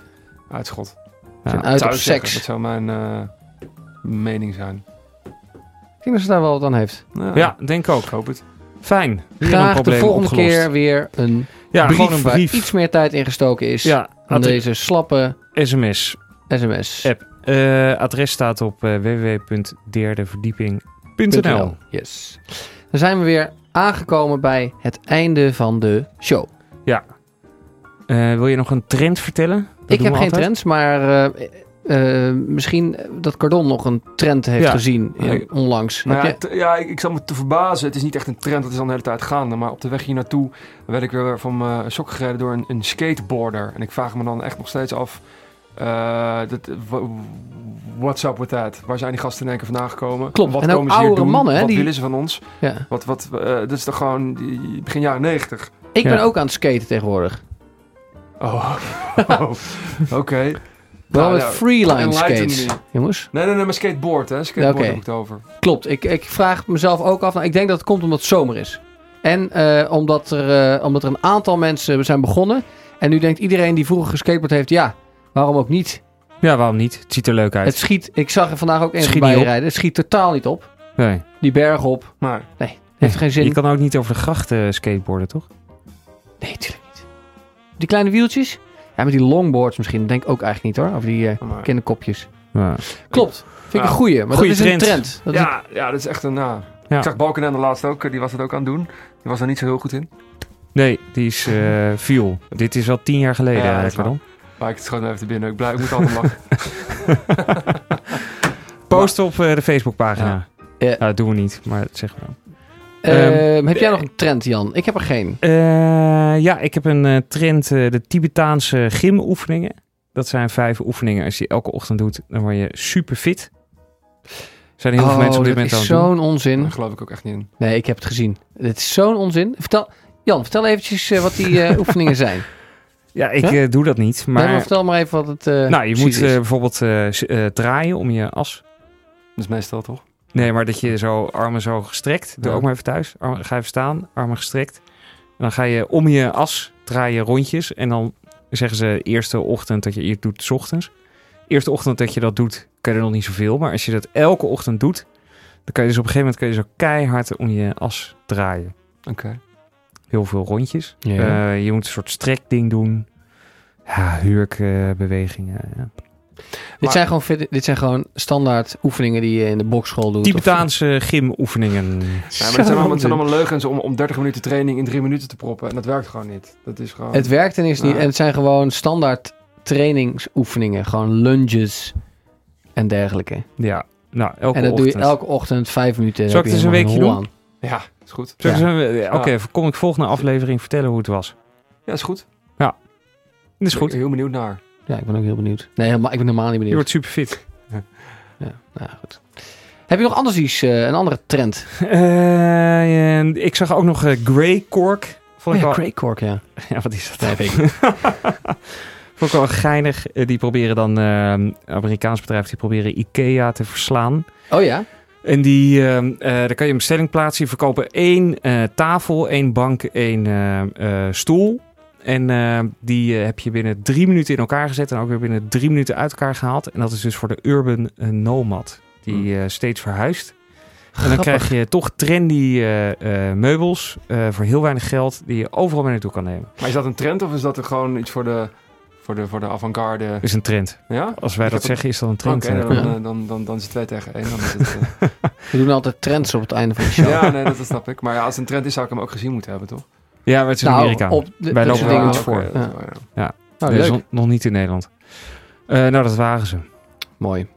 S6: Uitschot.
S3: Ja.
S6: Dat
S4: Uit
S6: zou
S4: op
S6: ik zeggen.
S4: seks.
S6: Dat zou mijn eh, mening zijn.
S4: Ik denk dat ze daar wel wat aan heeft.
S6: Nou,
S3: Ja, denk ook.
S6: Ik hoop het.
S3: Fijn. Weer een
S4: Graag de
S3: probleem
S4: volgende
S3: opgelost.
S4: keer weer een
S3: Ja,
S4: brief,
S3: gewoon een
S4: waar
S3: brief.
S4: iets meer tijd in gestoken is
S3: Ja,
S4: dan
S3: adres,
S4: deze slappe
S3: sms.
S4: sms.
S3: App. Eh, adres staat op eh, www.derdeverdieping.nl.
S4: Yes. Dan zijn we weer aangekomen bij het einde van de show.
S3: Eh, wil je nog een trend vertellen? Dat
S4: ik
S3: doen
S4: heb geen
S3: we altijd.
S4: trends, maar eh, eh, misschien dat Cardon nog een trend heeft
S3: Ja.
S4: gezien eh,
S6: Ik-
S4: onlangs.
S6: Nou
S4: Heb
S6: ja,
S4: je-
S6: t- ja, ik, ik zal me te verbazen. Het is niet echt een trend, dat is al de hele tijd gaande. Maar op de weg hier naartoe werd ik weer van mijn sok gereden door een, een skateboarder. En ik vraag me dan echt nog steeds af... eh, dat, wa- what's up with that? Waar zijn die gasten in één keer vandaan gekomen?
S4: Klopt,
S6: Wat
S4: en ook
S6: komen ze hier
S4: oudere
S6: doen?
S4: mannen, hè,
S6: Wat
S4: die-
S6: willen ze van ons?
S4: ja.
S6: Wat, wat, eh, dat is toch gewoon die- begin jaren negentig?
S4: Ik ben
S3: Ja.
S4: ook aan het skaten tegenwoordig.
S6: Oh, Oh, oké.
S4: Wel
S6: Nou,
S4: met
S6: nou,
S4: freeline
S6: enlighten
S4: skates.
S6: me.
S4: Jongens,
S6: Nee, nee, nee, maar skateboard, hè? Skateboard
S4: Oké.
S6: heb ik het over.
S4: klopt. Ik, ik vraag mezelf ook af. Nou, ik denk dat het komt omdat het zomer is. En eh, omdat, er, eh, omdat er een aantal mensen zijn begonnen. En nu denkt iedereen die vroeger geskateboard heeft, ja, waarom ook niet?
S3: Ja, waarom niet? Het ziet er leuk uit.
S4: Het schiet, ik zag er vandaag ook een
S3: Schiet
S4: voorbij
S3: niet op.
S4: rijden. Het schiet totaal niet op.
S3: nee.
S4: Die berg op,
S6: Maar
S4: heeft geen zin.
S3: Je kan ook niet over de grachten eh, skateboarden, toch?
S4: Nee, natuurlijk niet. Die kleine wieltjes? Ja, met die longboards misschien. Denk ik ook eigenlijk niet hoor. Of die eh,
S6: Maar-
S4: kinderkopjes.
S3: Ja.
S4: Klopt. Vind ik
S6: Ja.
S4: een goeie. Maar
S3: Ah, Goeie
S4: dat is
S3: trend.
S4: een trend. Dat is,
S6: ja, ja, dat is echt een... nou,
S3: Ja.
S6: Ik zag Balkenende laatst ook, eh, die was het ook aan het doen. Die was er niet zo heel goed in.
S3: Nee, die is eh viel. Dit is al tien jaar geleden, eh,
S6: Ja, dat
S3: ja,
S6: is waar. Maar ik het gewoon even te binnen. Ik, blijf, ik moet altijd lachen.
S3: Post op eh, de Facebookpagina.
S4: Ja.
S3: Nou, dat doen we niet, maar dat zeggen we wel.
S4: Ehm, heb jij nog een trend, Jan? Ik heb er geen.
S3: Eh, ja, ik heb een eh, trend, eh, de Tibetaanse gymoefeningen. Dat zijn vijf oefeningen. Als je die elke ochtend doet, dan word je super fit. Zijn heel veel
S4: Oh,
S3: mensen op dit
S4: dat
S3: moment aan
S4: is
S3: het doen.
S4: zo'n
S6: Daar
S4: onzin.
S6: geloof ik ook echt niet in.
S4: Nee, ik heb het gezien. Dit is zo'n onzin. Vertel, Jan, vertel eventjes eh, wat die eh, oefeningen zijn.
S3: Ja, ik
S4: Ja?
S3: eh, doe dat niet.
S4: Maar,
S3: Maar,
S4: vertel maar even wat het eh
S3: nou, je moet
S4: precies
S3: eh,
S4: is.
S3: bijvoorbeeld eh, s- eh, draaien om je as.
S6: Dat is meestal toch?
S3: Nee, maar dat je zo armen zo gestrekt. Doe
S6: Ja.
S3: ook maar even thuis. Armen, ga even staan, armen gestrekt. En dan ga je om je as draaien rondjes. En dan zeggen ze eerste ochtend dat je het doet, 's ochtends. Eerste ochtend dat je dat doet, kan je er nog niet zoveel. Maar als je dat elke ochtend doet, dan kan je dus op een gegeven moment kan je zo keihard om je as draaien.
S6: Oké.
S3: Heel veel rondjes.
S4: Ja.
S3: Eh, je moet een soort strekding doen. Ja, hurkbewegingen. ja.
S4: dit, zijn gewoon, fit- dit zijn gewoon standaard oefeningen die je in de bokschool doet.
S3: Tibetaanse gymoefeningen.
S6: Ja, maar het zijn, allemaal, het zijn allemaal leugens om, om 30 minuten training in 3 minuten te proppen. En dat werkt gewoon niet. Dat is gewoon...
S4: Of- Het werkt en is niet.
S6: Ja.
S4: En het zijn gewoon standaard trainingsoefeningen. Gewoon lunges en dergelijke.
S3: Ja, nou, elke
S4: en dat
S3: ochtend.
S4: doe je elke ochtend vijf minuten.
S3: Zal ik
S4: heb je
S3: het eens een
S4: helemaal
S3: weekje
S4: geen
S6: Ja, is goed.
S3: Zullen
S4: Ja.
S3: we- eh, Oké, kom ik volgende aflevering vertellen hoe het was.
S6: Ja, is goed.
S3: Dat is
S6: Ik
S3: goed.
S6: ben heel benieuwd naar.
S4: hol aan. Ja, ik ben ook heel benieuwd. Nee, helemaal, ik ben helemaal niet
S3: Je
S4: benieuwd.
S3: wordt super fit.
S4: Ja, nou, goed. Heb je nog anders iets, eh, een andere trend?
S3: Eh, ik zag ook nog eh, Grey Cork. Vond ik
S4: ja,
S3: wel-
S4: Craig Cork, ja.
S3: ja, wat is dat?
S4: Nee, weet ik
S3: Vond ik wel geinig. Eh, die proberen dan, eh, een Amerikaans bedrijf, die proberen Ikea te verslaan.
S4: Oh ja?
S3: En die, ehm eh, daar kan je een bestelling plaatsen. Die verkopen één eh, tafel, één bank, één eh, eh, stoel. En eh, die eh, heb je binnen drie minuten in elkaar gezet. En ook weer binnen drie minuten uit elkaar gehaald. En dat is dus voor de urban eh, nomad. Die eh, steeds verhuist. En dan
S4: Grappig.
S3: krijg je toch trendy eh, eh, meubels. eh, voor heel weinig geld. Die je overal mee naartoe kan nemen.
S6: Maar is dat een trend of is dat er gewoon iets voor de, voor de, voor de avant-garde?
S3: Dat is een trend.
S6: Ja?
S3: Als wij
S6: Ik
S3: dat
S6: heb-
S3: zeggen, is dat een
S6: Oké,
S3: trend.
S6: dan,
S4: Ja.
S6: eh, dan, dan, dan is het 2 tegen 1. Dan is het, eh,
S4: We doen altijd trends op het einde van de show.
S6: ja, nee, dat dat snap ik. Maar ja, als het een trend is, zou ik hem ook gezien moeten hebben, toch?
S3: ja, maar het is in
S4: Nou,
S3: Amerika.
S4: op
S3: Wij
S4: de, dat
S3: lopen
S4: soort
S3: wel
S4: dingen
S3: iets
S4: doen.
S3: voor.
S6: oké, dat is wel, ja.
S4: Oh,
S3: Nee, dat is
S4: leuk.
S3: nog- nog niet in Nederland. Eh, nou, dat waren ze.
S4: Mooi.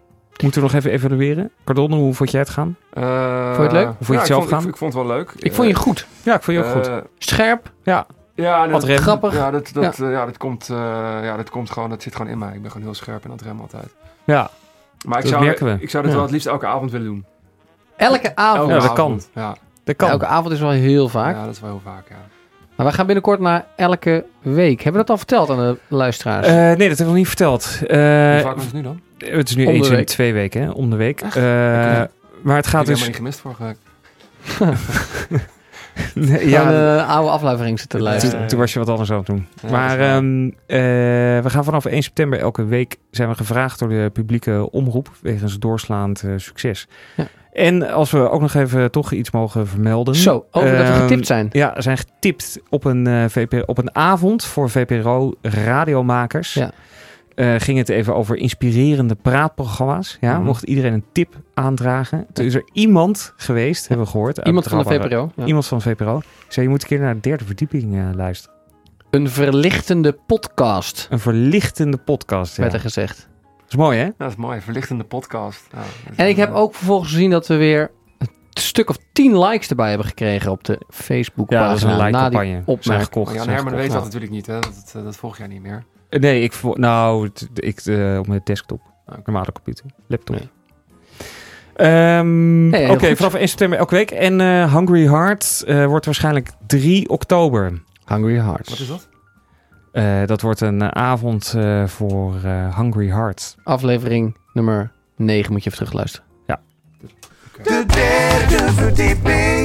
S3: Moeten we nog even evalueren? Cardon, hoe vond jij het gaan?
S6: Eh,
S4: Vond je het leuk?
S6: ja,
S3: Of vond je het
S6: ik
S3: zelf
S6: vond- ik-
S3: gaan?
S6: Ik, vond het wel leuk. Eh,
S4: Ik
S3: Eh,
S4: vond je goed.
S3: Ja, ik vond je ook goed.
S4: Scherp.
S6: Ja, nee,
S3: Ad rem.
S4: Grappig.
S6: Ja, dat, dat, eh, ja, dat, komt, eh, ja, dat komt gewoon, dat zit gewoon in mij. Ik ben gewoon heel scherp en dat rem altijd.
S3: Ja,
S6: Maar ik
S3: Dat
S6: zou,
S3: merken we.
S6: ik zou dit
S3: Ja.
S6: wel het liefst elke avond willen doen.
S4: Elke avond.
S6: Elke
S3: Ja, dat
S6: avond. Ja.
S3: Dat Oh, kan.
S4: Elke avond is wel heel vaak.
S6: Ja, dat is wel heel vaak, ja.
S3: Eh,
S4: Maar we gaan binnenkort naar elke week. Hebben we dat al verteld aan de luisteraars?
S3: Eh, nee, dat hebben we nog niet verteld. Eh,
S6: Hoe vaak was het nu dan? Ik
S3: het is nu
S4: Om de
S3: eens in
S4: week.
S3: twee weken, hè? Om de week.
S6: Echt?
S3: Eh,
S6: Oké.
S3: maar het gaat
S6: heb helemaal
S3: dus...
S6: niet gemist vorige week.
S3: Nee,
S4: ja,
S3: ja,
S4: de eh, oude aflevering zitten te luisteren.
S3: toen, toen was je wat anders aan het doen.
S6: Ja,
S3: maar
S6: dat is waar.
S3: ehm, eh, we gaan vanaf 1 september elke week zijn we gevraagd door de publieke omroep wegens doorslaand eh, succes.
S4: Ja.
S3: En als we ook nog even toch iets mogen vermelden.
S4: Zo, over dat we
S3: Ehm,
S4: getipt zijn.
S3: Ja, zijn getipt op een, eh, VP, op een avond voor VPRO radiomakers.
S4: Ja.
S3: Eh, ging het even over inspirerende praatprogramma's. Ja,
S6: Mhm.
S3: Mocht iedereen een tip aandragen. Toen is er iemand geweest, hebben we gehoord. uit
S4: Iemand van de
S3: Brabant.
S4: VPRO. Ja.
S3: Iemand van de VPRO. Zei, je moet een keer naar de derde verdieping eh, luisteren.
S4: Een verlichtende podcast,
S3: Een verlichtende podcast. Ja.
S4: werd er
S3: Dat
S4: gezegd.
S3: is mooi, hè?
S6: Ja, dat is mooi. Verlichtende podcast. Ja, dat is
S4: En ik
S6: wel,
S4: heb
S6: eh,
S4: ook vervolgens gezien dat we weer een stuk of tien likes erbij hebben gekregen op de Facebookpagina.
S3: Ja, dat is een like-campagne.
S4: Na die
S3: Zijn
S4: opmerking.
S3: gekocht.
S6: Maar Jan
S3: zijn
S6: Herman weet
S3: gekocht.
S6: dat natuurlijk niet, hè? Dat, eh, dat volg jij niet meer.
S3: Eh, Nee, ik, vo- nou, t- ik, eh, op mijn desktop.
S4: Oh,
S6: Oké.
S3: Normale computer. Laptop.
S4: Ja.
S3: Ehm,
S4: Ja, ja, heel
S3: Oké,
S4: goed.
S3: vanaf 1 september elke week. En eh, Hungry Heart eh, wordt waarschijnlijk 3 oktober.
S4: Hungry
S6: Wat
S4: Hearts.
S6: is dat?
S3: Eh, dat wordt een eh, avond eh, voor eh, Hungry Heart.
S4: Aflevering nummer 9 moet je even terugluisteren.
S1: De derde verdieping.